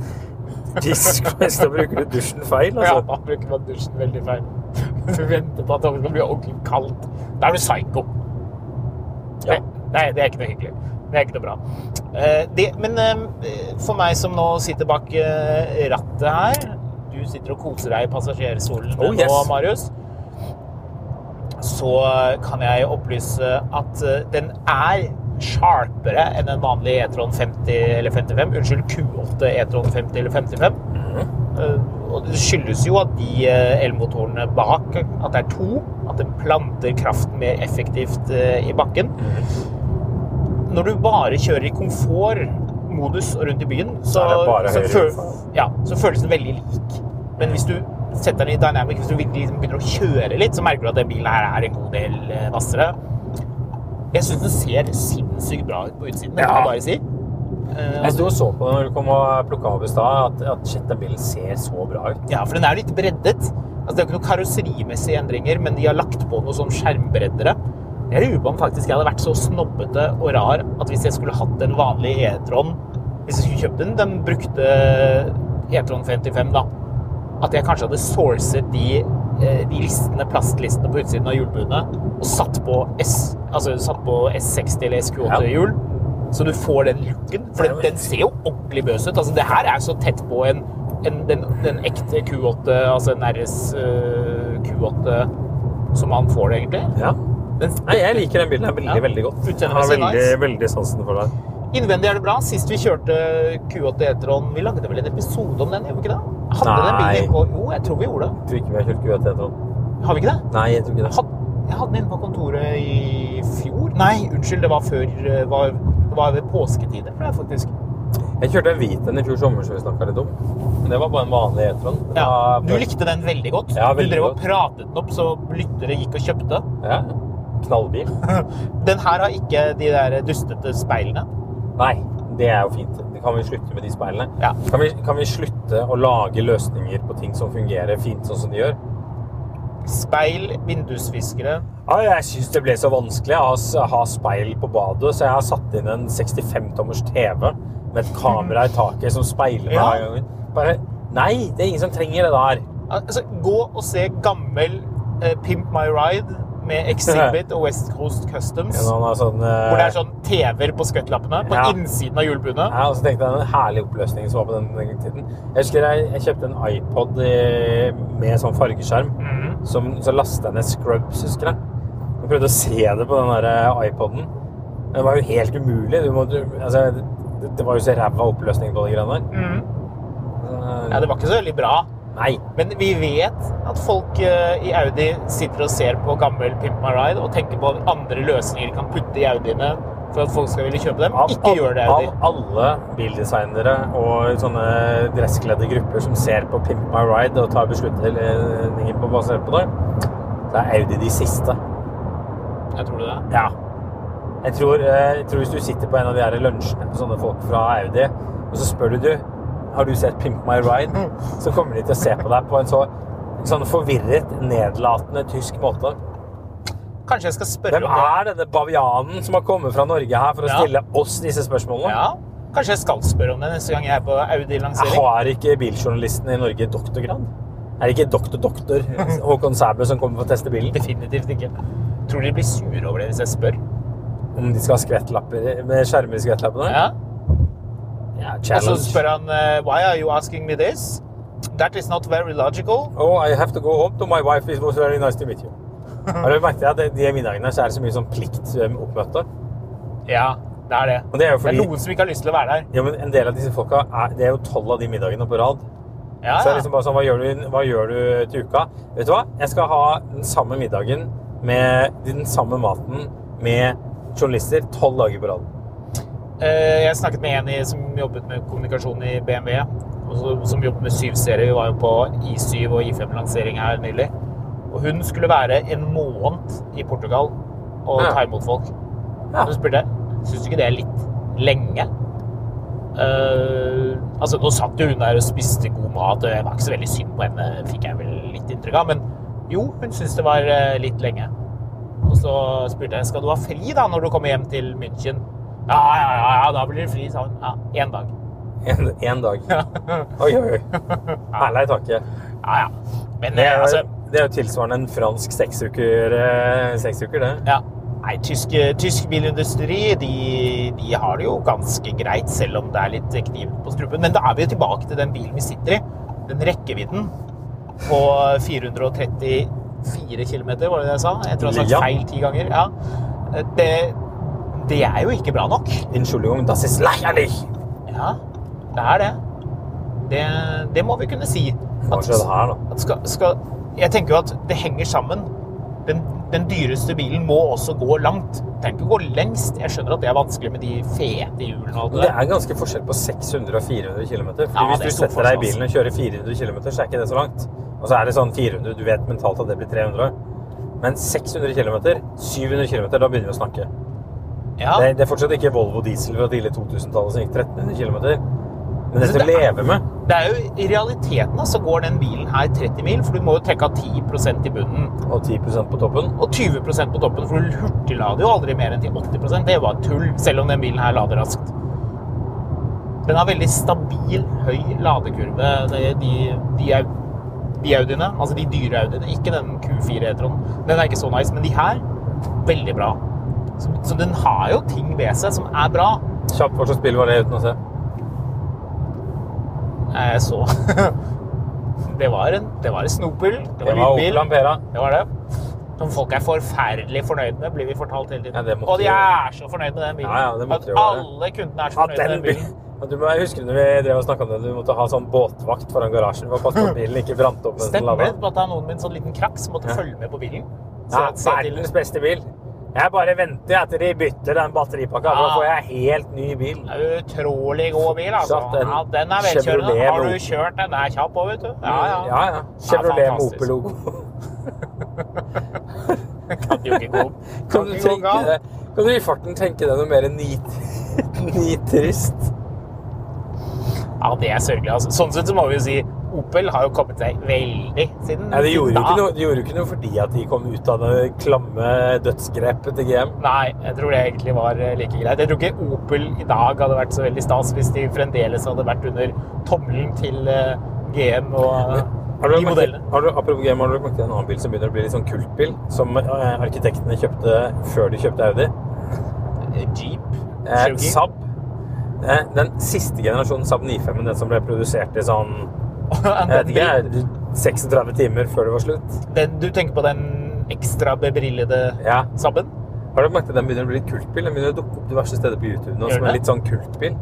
[SPEAKER 2] Diskfest, da bruker du dusjen feil,
[SPEAKER 1] Ja,
[SPEAKER 2] altså.
[SPEAKER 1] da bruker man dusjen veldig feil. *laughs* Du venter på at det skal bli ordentlig kaldt. Da er du psycho.
[SPEAKER 2] Ja.
[SPEAKER 1] Nei, det er ikke noe hyggelig. Det er ikke noe bra. Eh, det, men eh, for meg som nå sitter bak eh, rattet her Du sitter og koser deg i passasjerstolen
[SPEAKER 2] Oh,
[SPEAKER 1] nå,
[SPEAKER 2] yes.
[SPEAKER 1] Marius. Så kan jeg opplyse at eh, den er sharpere enn en vanlig E-tron 50 eller 55. Unnskyld, Q8 E-tron 50 eller 55. Eh, og det skyldes jo at de eh, elmotorene bak, at det er to, at den planter kraften mer effektivt eh, i bakken
[SPEAKER 2] Mhm.
[SPEAKER 1] når du bare kjører i komfortmodus og rundt i byen, så,
[SPEAKER 2] Da er det bare
[SPEAKER 1] så,
[SPEAKER 2] høyre
[SPEAKER 1] føl-
[SPEAKER 2] utfall.
[SPEAKER 1] ja, så føles den veldig lik. Men hvis du setter den i dynamic, hvis du virkelig liksom begynner å kjøre litt, så merker du at den bilen her er en god del eh, vassere. Jeg syns den ser sinnssykt bra ut på utsiden, det
[SPEAKER 2] Ja.
[SPEAKER 1] må jeg bare si. Eh,
[SPEAKER 2] Jeg sto og så på det når du kom og plukka opp i stad, at, at shit, den bilen ser så bra ut.
[SPEAKER 1] Ja, for den er jo litt breddet. Altså, det er jo ikke noen karosserimessige endringer, men de har lagt på noen sånn skjermbreddere. Jeg lurer på om faktisk jeg hadde vært så snobbete og rar at hvis jeg skulle hatt en vanlig E-tron Hvis jeg skulle kjøpt den, den brukte E-tron 55, da. At jeg kanskje hadde sourcet de, eh, de listene, plastlistene på utsiden av hjulbuene og satt på, S, altså, satt på S60 eller
[SPEAKER 2] Ja.
[SPEAKER 1] SQ8-hjul. Så du får den looken. For den, den ser jo ordentlig bøs ut. Altså, det her er så tett på en, en, den, den ekte Q8, altså en RS eh, Q8, som man får det, egentlig.
[SPEAKER 2] Ja.
[SPEAKER 1] Den,
[SPEAKER 2] Nei, jeg liker den bilen her veldig,
[SPEAKER 1] Ja.
[SPEAKER 2] veldig godt.
[SPEAKER 1] Utseendemessig
[SPEAKER 2] Jeg har veldig,
[SPEAKER 1] nice.
[SPEAKER 2] veldig sansen for den.
[SPEAKER 1] Innvendig er det bra. Sist vi kjørte Q8 Etron, vi lagde vel en episode om den, gjorde vi ikke det? Hadde den
[SPEAKER 2] Nei.
[SPEAKER 1] bilen på Jo, jeg tror vi gjorde det.
[SPEAKER 2] Jeg tror ikke vi har kjørt QAT, jeg tror.
[SPEAKER 1] Har vi ikke det?
[SPEAKER 2] Nei, jeg tror ikke det.
[SPEAKER 1] Had, jeg hadde den inne på kontoret i fjor. Nei, unnskyld, det var før eh, var, Det var ved påsketider, tror jeg faktisk.
[SPEAKER 2] Jeg kjørte en hvit en i fjor sommer, som vi snakka litt om. Men det var bare en vanlig E-tron. Den
[SPEAKER 1] Ja,
[SPEAKER 2] var-
[SPEAKER 1] du likte den veldig godt.
[SPEAKER 2] Ja, veldig
[SPEAKER 1] du drev og
[SPEAKER 2] godt.
[SPEAKER 1] pratet den opp, så lyttere gikk og *laughs* kjøpte.
[SPEAKER 2] Ja. Knallbil.
[SPEAKER 1] Den her har ikke de der dustete speilene.
[SPEAKER 2] Nei, det er jo fint. Kan vi slutte med de speilene?
[SPEAKER 1] Ja.
[SPEAKER 2] Kan, vi, kan vi slutte å lage løsninger på ting som fungerer fint sånn som de gjør?
[SPEAKER 1] Speil, vindusviskere
[SPEAKER 2] Ja, jeg syns det ble så vanskelig å ha, s- ha speil på badet, så jeg har satt inn en 65-tommers TV med et kamera i taket som speiler meg
[SPEAKER 1] Ja.
[SPEAKER 2] hver gang. Bare Nei, det er ingen som trenger det der.
[SPEAKER 1] Altså, gå og se gammel eh, Pimp My Ride med Exhibit og West Coast Customs.
[SPEAKER 2] Når man har sånn, eh,
[SPEAKER 1] Hvor det er sånn TV-er på skøytelappene på
[SPEAKER 2] Ja.
[SPEAKER 1] innsiden av hjulbuene.
[SPEAKER 2] Ja, og så altså, tenkte jeg den herlige oppløsningen som var på den, den tiden. Jeg husker jeg, jeg kjøpte en iPod eh, med sånn fargeskjerm,
[SPEAKER 1] Mhm.
[SPEAKER 2] som, så lastet jeg ned Scrubs, husker jeg. Jeg prøvde å se det på den der eh, iPoden. Men Det var jo helt umulig. Du måtte, altså, det, det var jo så ræva oppløsning på de greiene der. Eh,
[SPEAKER 1] Mhm. Ja, det var ikke så veldig bra.
[SPEAKER 2] Nei.
[SPEAKER 1] Men vi vet at folk eh, i Audi sitter og ser på gammel Pimp My Ride og tenker på at andre løsninger de kan putte i Audiene for at folk skal ville kjøpe dem.
[SPEAKER 2] Av,
[SPEAKER 1] Ikke gjør det, Audi.
[SPEAKER 2] av alle bildesignere og sånne dresskledde grupper som ser på Pimp My Ride og tar beslutninger på basert på det, så er Audi de siste.
[SPEAKER 1] Jeg tror det.
[SPEAKER 2] Ja. Jeg tror, eh, jeg tror hvis du sitter på en av de her lunsjene med sånne folk fra Audi, og så spør du du, har du sett Pimp My Ride,
[SPEAKER 1] Mm.
[SPEAKER 2] så kommer de til å se på deg på en så, en sånn forvirret, nedlatende tysk måte.
[SPEAKER 1] Kanskje jeg skal spørre
[SPEAKER 2] Hvem
[SPEAKER 1] om det.
[SPEAKER 2] er denne bavianen som har kommet fra Norge her for å
[SPEAKER 1] Ja.
[SPEAKER 2] stille oss disse spørsmålene?
[SPEAKER 1] Ja, Kanskje jeg skal spørre om det neste gang jeg er på
[SPEAKER 2] Jeg
[SPEAKER 1] Audi-lansering.
[SPEAKER 2] har ikke biljournalisten i Norge doktorgrad? Er det ikke
[SPEAKER 1] *laughs*
[SPEAKER 2] doktor-doktor Håkon Sæbø som kommer for å teste bilen?
[SPEAKER 1] Definitivt ikke. Tror de blir sure over det hvis jeg spør.
[SPEAKER 2] Om de skal ha skvettlapper med skjermer i skvettlappene?
[SPEAKER 1] Ja.
[SPEAKER 2] Ja,
[SPEAKER 1] Og så
[SPEAKER 2] challenge.
[SPEAKER 1] spør han eh, Why are you asking me this? That is not very logical.
[SPEAKER 2] Oh, I have to go home to my wife. It was very nice to meet you.
[SPEAKER 1] *laughs*
[SPEAKER 2] Har du merket at de middagene så er det så mye sånn pliktoppmøte?
[SPEAKER 1] Ja, det er det.
[SPEAKER 2] Og det er jo
[SPEAKER 1] Det er
[SPEAKER 2] fordi-
[SPEAKER 1] noen som ikke har lyst til å være der.
[SPEAKER 2] Ja, men en del av disse folka, er, det er jo tolv av de middagene på rad.
[SPEAKER 1] Ja,
[SPEAKER 2] Så det er
[SPEAKER 1] ja.
[SPEAKER 2] liksom bare sånn, hva gjør, du, hva gjør du til uka? Vet du hva? Jeg skal ha den samme middagen med den samme maten med journalister tolv dager på rad.
[SPEAKER 1] Eh, Jeg snakket med en i, som jobbet med kommunikasjon i BMW, og så- som jobbet med 7-serie. Vi var jo på I7 og I5-lansering her nylig. Og hun skulle være en måned i Portugal og
[SPEAKER 2] Ja.
[SPEAKER 1] ta imot folk.
[SPEAKER 2] Ja.
[SPEAKER 1] Så spurte jeg syns du ikke det er litt lenge. Eh, altså, Nå satt jo hun der og spiste god mat, og jeg var ikke så veldig synd på henne, fikk jeg vel litt inntrykk av. Men jo, hun syntes det var eh, litt lenge. Og så spurte jeg skal du ha fri da når du kommer hjem til München. Ja, ja, ja, ja da blir det fri, sa hun. Ja, én dag.
[SPEAKER 2] En, en dag. Oi, oi,
[SPEAKER 1] *laughs*
[SPEAKER 2] oi. Herlig takke.
[SPEAKER 1] Ja, ja. Men
[SPEAKER 2] Det
[SPEAKER 1] eh,
[SPEAKER 2] er,
[SPEAKER 1] altså
[SPEAKER 2] det er jo tilsvarende en fransk seksuker, eh, seksuker det.
[SPEAKER 1] ja. Nei, tysk, eh, tysk bilindustri de, de har det jo ganske greit, selv om det er litt kniv på strupen. Men da er vi jo tilbake til den bilen vi sitter i. Den rekkevidden på 434 km, var det det jeg sa? Jeg tror jeg har
[SPEAKER 2] Ja.
[SPEAKER 1] sagt feil ti ganger. Ja. Det, det er jo ikke bra nok.
[SPEAKER 2] Entschuldigung, das ist lächerlich.
[SPEAKER 1] Ja, det er det. Det, det må vi kunne si.
[SPEAKER 2] Hva
[SPEAKER 1] At-
[SPEAKER 2] skjedde her, da?
[SPEAKER 1] at skal, skal, jeg tenker jo at det henger sammen. Den, den dyreste bilen må også gå langt. Tenk å gå lengst. Jeg skjønner at det er vanskelig med de fete hjulene og alt
[SPEAKER 2] Det
[SPEAKER 1] det der.
[SPEAKER 2] er ganske forskjell på 600 og 400
[SPEAKER 1] Ja,
[SPEAKER 2] km. hvis
[SPEAKER 1] det er
[SPEAKER 2] du
[SPEAKER 1] stor
[SPEAKER 2] setter
[SPEAKER 1] forskjell,
[SPEAKER 2] deg i
[SPEAKER 1] altså.
[SPEAKER 2] bilen og kjører 400 km, så er ikke det så langt. Og så er det sånn 400, du vet mentalt at det blir 300. Men 600 km, 700 km, da begynner vi å snakke.
[SPEAKER 1] Ja,
[SPEAKER 2] Det, det er fortsatt ikke Volvo diesel fra tidlig 2000-tallet som gikk 1300 km. Men det
[SPEAKER 1] Så
[SPEAKER 2] skal
[SPEAKER 1] det er-
[SPEAKER 2] leve med.
[SPEAKER 1] det er jo I realiteten da, så går den bilen her 30 mil, for du må jo trekke av 10 i bunnen.
[SPEAKER 2] Og 10 på toppen.
[SPEAKER 1] Og 20 på toppen, for du hurtiglader jo aldri mer enn til 80 Det var tull, selv om den bilen her lader raskt. Den har veldig stabil, høy ladekurve, de, de, de, au- de Audiene. Altså de dyre Audiene, ikke den Q4-eteren. Den er ikke så nice, men de her, veldig bra. Så, så den har jo ting ved seg som er bra.
[SPEAKER 2] Kjapt hva slags bil var det uten å se?
[SPEAKER 1] Eh, så *laughs* Det var en, det var en snopel. Det
[SPEAKER 2] Det
[SPEAKER 1] var
[SPEAKER 2] var
[SPEAKER 1] lydbil.
[SPEAKER 2] Opel Ampera.
[SPEAKER 1] Det var det. Som folk er forferdelig fornøyd med, blir vi fortalt hele tiden.
[SPEAKER 2] Ja, det måtte
[SPEAKER 1] og de
[SPEAKER 2] jo
[SPEAKER 1] er så fornøyd med den bilen.
[SPEAKER 2] Ja, ja, det måtte
[SPEAKER 1] at
[SPEAKER 2] jo være.
[SPEAKER 1] alle kundene er så
[SPEAKER 2] Ja,
[SPEAKER 1] fornøyd med
[SPEAKER 2] den
[SPEAKER 1] den bilen.
[SPEAKER 2] bilen. Ja, Du må, jeg husker når vi drev og snakket om det, du måtte ha sånn båtvakt foran garasjen for å passe på
[SPEAKER 1] *laughs*
[SPEAKER 2] at bilen ikke brant opp. mens den
[SPEAKER 1] Stemmer det
[SPEAKER 2] landet.
[SPEAKER 1] at det er noen med en sånn liten krakk som måtte følge med på bilen? Så
[SPEAKER 2] Ja,
[SPEAKER 1] at- se til-
[SPEAKER 2] verdens beste bil. Jeg bare venter etter de bytter den batteripakka, for da
[SPEAKER 1] Ja.
[SPEAKER 2] får jeg helt ny bil.
[SPEAKER 1] Det er Utrolig god bil, altså.
[SPEAKER 2] Satt en
[SPEAKER 1] ja, den er velkjørende.
[SPEAKER 2] Chevrolet
[SPEAKER 1] Har du
[SPEAKER 2] Volt.
[SPEAKER 1] kjørt den der kjapp òg, vet du? Ja, ja.
[SPEAKER 2] ja, ja. Chevrolet med
[SPEAKER 1] fantastisk.
[SPEAKER 2] Opel-logo.
[SPEAKER 1] Kan jo ikke gå
[SPEAKER 2] *laughs* Kan du
[SPEAKER 1] ikke gå
[SPEAKER 2] tenke
[SPEAKER 1] galt.
[SPEAKER 2] deg, kan du i farten tenke deg noe mer nit, *laughs* nitrist?
[SPEAKER 1] Ja, det er sørgelig, altså. Sånn sett så må vi jo si Opel har jo kommet seg veldig siden
[SPEAKER 2] Ja, de gjorde jo
[SPEAKER 1] da.
[SPEAKER 2] ikke noe, de gjorde jo ikke noe fordi at de kom ut av det klamme dødsgrepet til GM.
[SPEAKER 1] Nei, jeg tror det egentlig var eh, like greit. Jeg tror ikke Opel i dag hadde vært så veldig stas hvis de fremdeles hadde vært under tommelen til eh, GM og eh,
[SPEAKER 2] Har du,
[SPEAKER 1] de
[SPEAKER 2] lagt merke-
[SPEAKER 1] modellene.
[SPEAKER 2] har du, apropos GM, har du lagt merke til en annen bil som begynner å bli litt sånn kultbil, som eh, arkitektene kjøpte før de kjøpte Audi?
[SPEAKER 1] Jeep,
[SPEAKER 2] Eh,
[SPEAKER 1] Cherokee.
[SPEAKER 2] Saab. Eh, den siste generasjonen Saab 95, den som ble produsert i sånn Jeg
[SPEAKER 1] *laughs*
[SPEAKER 2] vet
[SPEAKER 1] den,
[SPEAKER 2] ikke, 36 timer før det var slutt.
[SPEAKER 1] den, du tenker på den ekstra bebrillede
[SPEAKER 2] Ja.
[SPEAKER 1] Saaben?
[SPEAKER 2] Har du merket at den begynner å bli litt kultbil? Den begynner å dukke opp diverse steder på YouTube nå
[SPEAKER 1] Gjør den
[SPEAKER 2] som en
[SPEAKER 1] det?
[SPEAKER 2] litt sånn kultbil.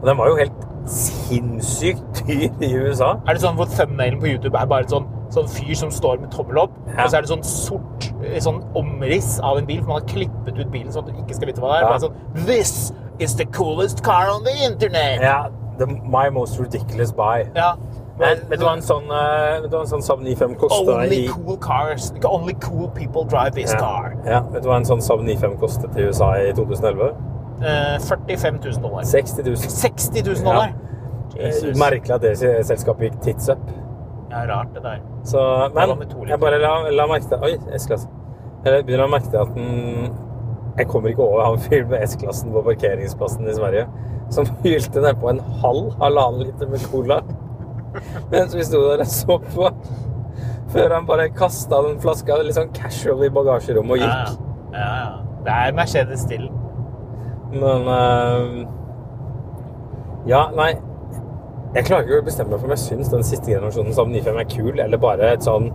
[SPEAKER 2] Og den var jo helt sinnssykt dyr i USA.
[SPEAKER 1] Er det sånn hvor thumbnailen på YouTube er bare sånn sånn fyr som står med tommel opp,
[SPEAKER 2] Ja.
[SPEAKER 1] og så er det sånn sort eh, sånn omriss av en bil, for man har klippet ut bilen sånn at du ikke skal vite hva det er.
[SPEAKER 2] Ja.
[SPEAKER 1] Bare sånn, This is the coolest car on the internet!
[SPEAKER 2] Ja, the, my most ridiculous buy.
[SPEAKER 1] Ja.
[SPEAKER 2] Men vet du hva en sånn, eh, vet du hva en sånn Saab 95 kosta
[SPEAKER 1] Only
[SPEAKER 2] i
[SPEAKER 1] cool cars. Only cool people drive this
[SPEAKER 2] ja.
[SPEAKER 1] car.
[SPEAKER 2] ja, Vet du hva en sånn Saab 95 kostet i USA i 2011?
[SPEAKER 1] Eh, 45 000 dollar.
[SPEAKER 2] 60 000.
[SPEAKER 1] 60 000 dollar!
[SPEAKER 2] Eh,
[SPEAKER 1] Jesus.
[SPEAKER 2] Merkelig at det se- selskapet gikk tits up.
[SPEAKER 1] Ja, rart det der.
[SPEAKER 2] Så,
[SPEAKER 1] Det
[SPEAKER 2] men
[SPEAKER 1] var med to liter.
[SPEAKER 2] jeg bare la, la merke til Oi, S-klasse. Jeg begynner å merke til at den Jeg kommer ikke over han fyren med S-klassen på parkeringsplassen i Sverige som *laughs* hylte nedpå en halv halvannen liter med cola mens vi sto der og så på. Før han bare kasta den flaska litt sånn casual i bagasjerommet og
[SPEAKER 1] Ja,
[SPEAKER 2] gikk.
[SPEAKER 1] ja. ja, ja. Det er Mercedes Still.
[SPEAKER 2] Men eh, Ja, nei. Jeg klarer ikke å bestemme meg for om jeg syns den siste generasjonen Saab 95 er kul, eller bare et sånn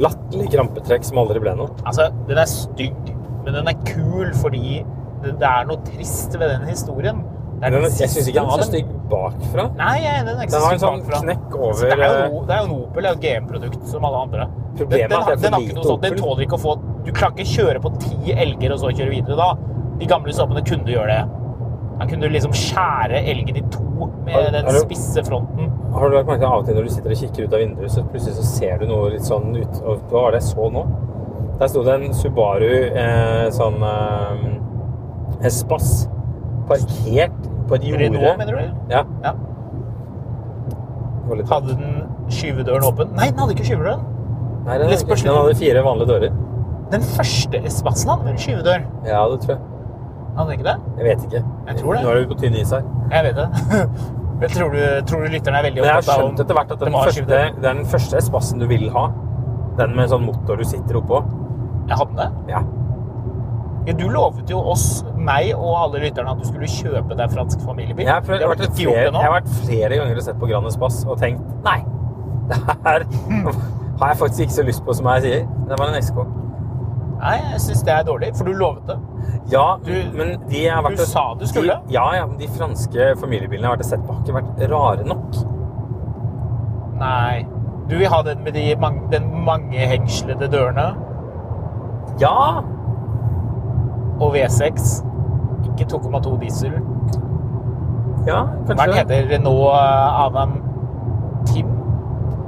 [SPEAKER 2] latterlig krampetrekk som aldri ble noe.
[SPEAKER 1] Altså, den er stygg, men den er kul fordi det, det er noe trist ved den historien. Det er
[SPEAKER 2] Men
[SPEAKER 1] den
[SPEAKER 2] jeg syns
[SPEAKER 1] siste
[SPEAKER 2] ikke
[SPEAKER 1] av
[SPEAKER 2] den er så
[SPEAKER 1] dem.
[SPEAKER 2] stygg bakfra.
[SPEAKER 1] Nei, jeg er enig, den er ikke
[SPEAKER 2] Den
[SPEAKER 1] så
[SPEAKER 2] har en
[SPEAKER 1] stygg
[SPEAKER 2] sånn
[SPEAKER 1] bakfra.
[SPEAKER 2] knekk
[SPEAKER 1] Så det,
[SPEAKER 2] over
[SPEAKER 1] er jo,
[SPEAKER 2] eh,
[SPEAKER 1] en O- det er jo en Opel, det er jo et GM-produkt som alle andre. Den,
[SPEAKER 2] Problemet er
[SPEAKER 1] den,
[SPEAKER 2] at
[SPEAKER 1] har-
[SPEAKER 2] det er for
[SPEAKER 1] den har ikke
[SPEAKER 2] lite
[SPEAKER 1] noe sånt, den
[SPEAKER 2] Opel.
[SPEAKER 1] tåler ikke å få Du kan ikke kjøre på ti elger og så kjøre videre, da. De gamle såpene kunne du gjøre det. Da kunne du liksom skjære elgen i to
[SPEAKER 2] Er-
[SPEAKER 1] med
[SPEAKER 2] er
[SPEAKER 1] den
[SPEAKER 2] det-
[SPEAKER 1] spisse fronten.
[SPEAKER 2] Har du lagt merke til av og til når du sitter og kikker ut av vinduet, så plutselig så ser du noe litt sånn ut og Hva var det jeg så nå? Der sto det en Subaru eh, sånn eh, Espass parkert på et jorde.
[SPEAKER 1] Renault, mener du? eller?
[SPEAKER 2] Ja,
[SPEAKER 1] Ja.
[SPEAKER 2] det var litt...
[SPEAKER 1] Hadde den skyvedøren åpen? Nei, den hadde ikke skyvedøren.
[SPEAKER 2] Nei, den,
[SPEAKER 1] litt
[SPEAKER 2] hadde ikke-
[SPEAKER 1] spørsmål.
[SPEAKER 2] den hadde fire vanlige dører.
[SPEAKER 1] Den første espassen hadde vel skyvedør?
[SPEAKER 2] Ja, det tror jeg.
[SPEAKER 1] Hadde den ikke det?
[SPEAKER 2] Jeg vet ikke.
[SPEAKER 1] Jeg tror det.
[SPEAKER 2] Nå er vi på tynn is her.
[SPEAKER 1] Jeg vet det. *laughs* Jeg tror du, tror du lytteren er veldig
[SPEAKER 2] Men jeg har
[SPEAKER 1] opptatt av
[SPEAKER 2] skjønt etter hvert at den
[SPEAKER 1] de har
[SPEAKER 2] første,
[SPEAKER 1] skyvedører?
[SPEAKER 2] den første Espassen du vil ha, den med sånn motor du sitter oppå
[SPEAKER 1] Jeg hadde det.
[SPEAKER 2] Ja.
[SPEAKER 1] Ja, Du lovet jo oss, meg og alle lytterne, at du skulle kjøpe deg fransk familiebil.
[SPEAKER 2] Jeg har,
[SPEAKER 1] Det
[SPEAKER 2] prøvd,
[SPEAKER 1] har du
[SPEAKER 2] jeg, har vært
[SPEAKER 1] ikke
[SPEAKER 2] flere,
[SPEAKER 1] gjort
[SPEAKER 2] jeg
[SPEAKER 1] ennå.
[SPEAKER 2] har vært flere ganger og sett på Grand Espass og tenkt nei, *laughs* det her
[SPEAKER 1] Hmm.
[SPEAKER 2] har jeg faktisk ikke så lyst på som jeg sier. Det var en SK.
[SPEAKER 1] Nei, jeg syns det er dårlig, for du lovet det.
[SPEAKER 2] Ja,
[SPEAKER 1] Du-
[SPEAKER 2] men de jeg har vært
[SPEAKER 1] du
[SPEAKER 2] og-
[SPEAKER 1] sa du skulle.
[SPEAKER 2] De, ja, ja, men de franske familiebilene jeg har vært og sett på, har ikke vært rare nok.
[SPEAKER 1] Nei. Du vil ha den med de mang- den mangehengslede dørene
[SPEAKER 2] Ja!
[SPEAKER 1] og V6. Ikke 2,2 diesel.
[SPEAKER 2] Ja,
[SPEAKER 1] Hva
[SPEAKER 2] kanskje.
[SPEAKER 1] er den heter Renault eh, Avan Tim?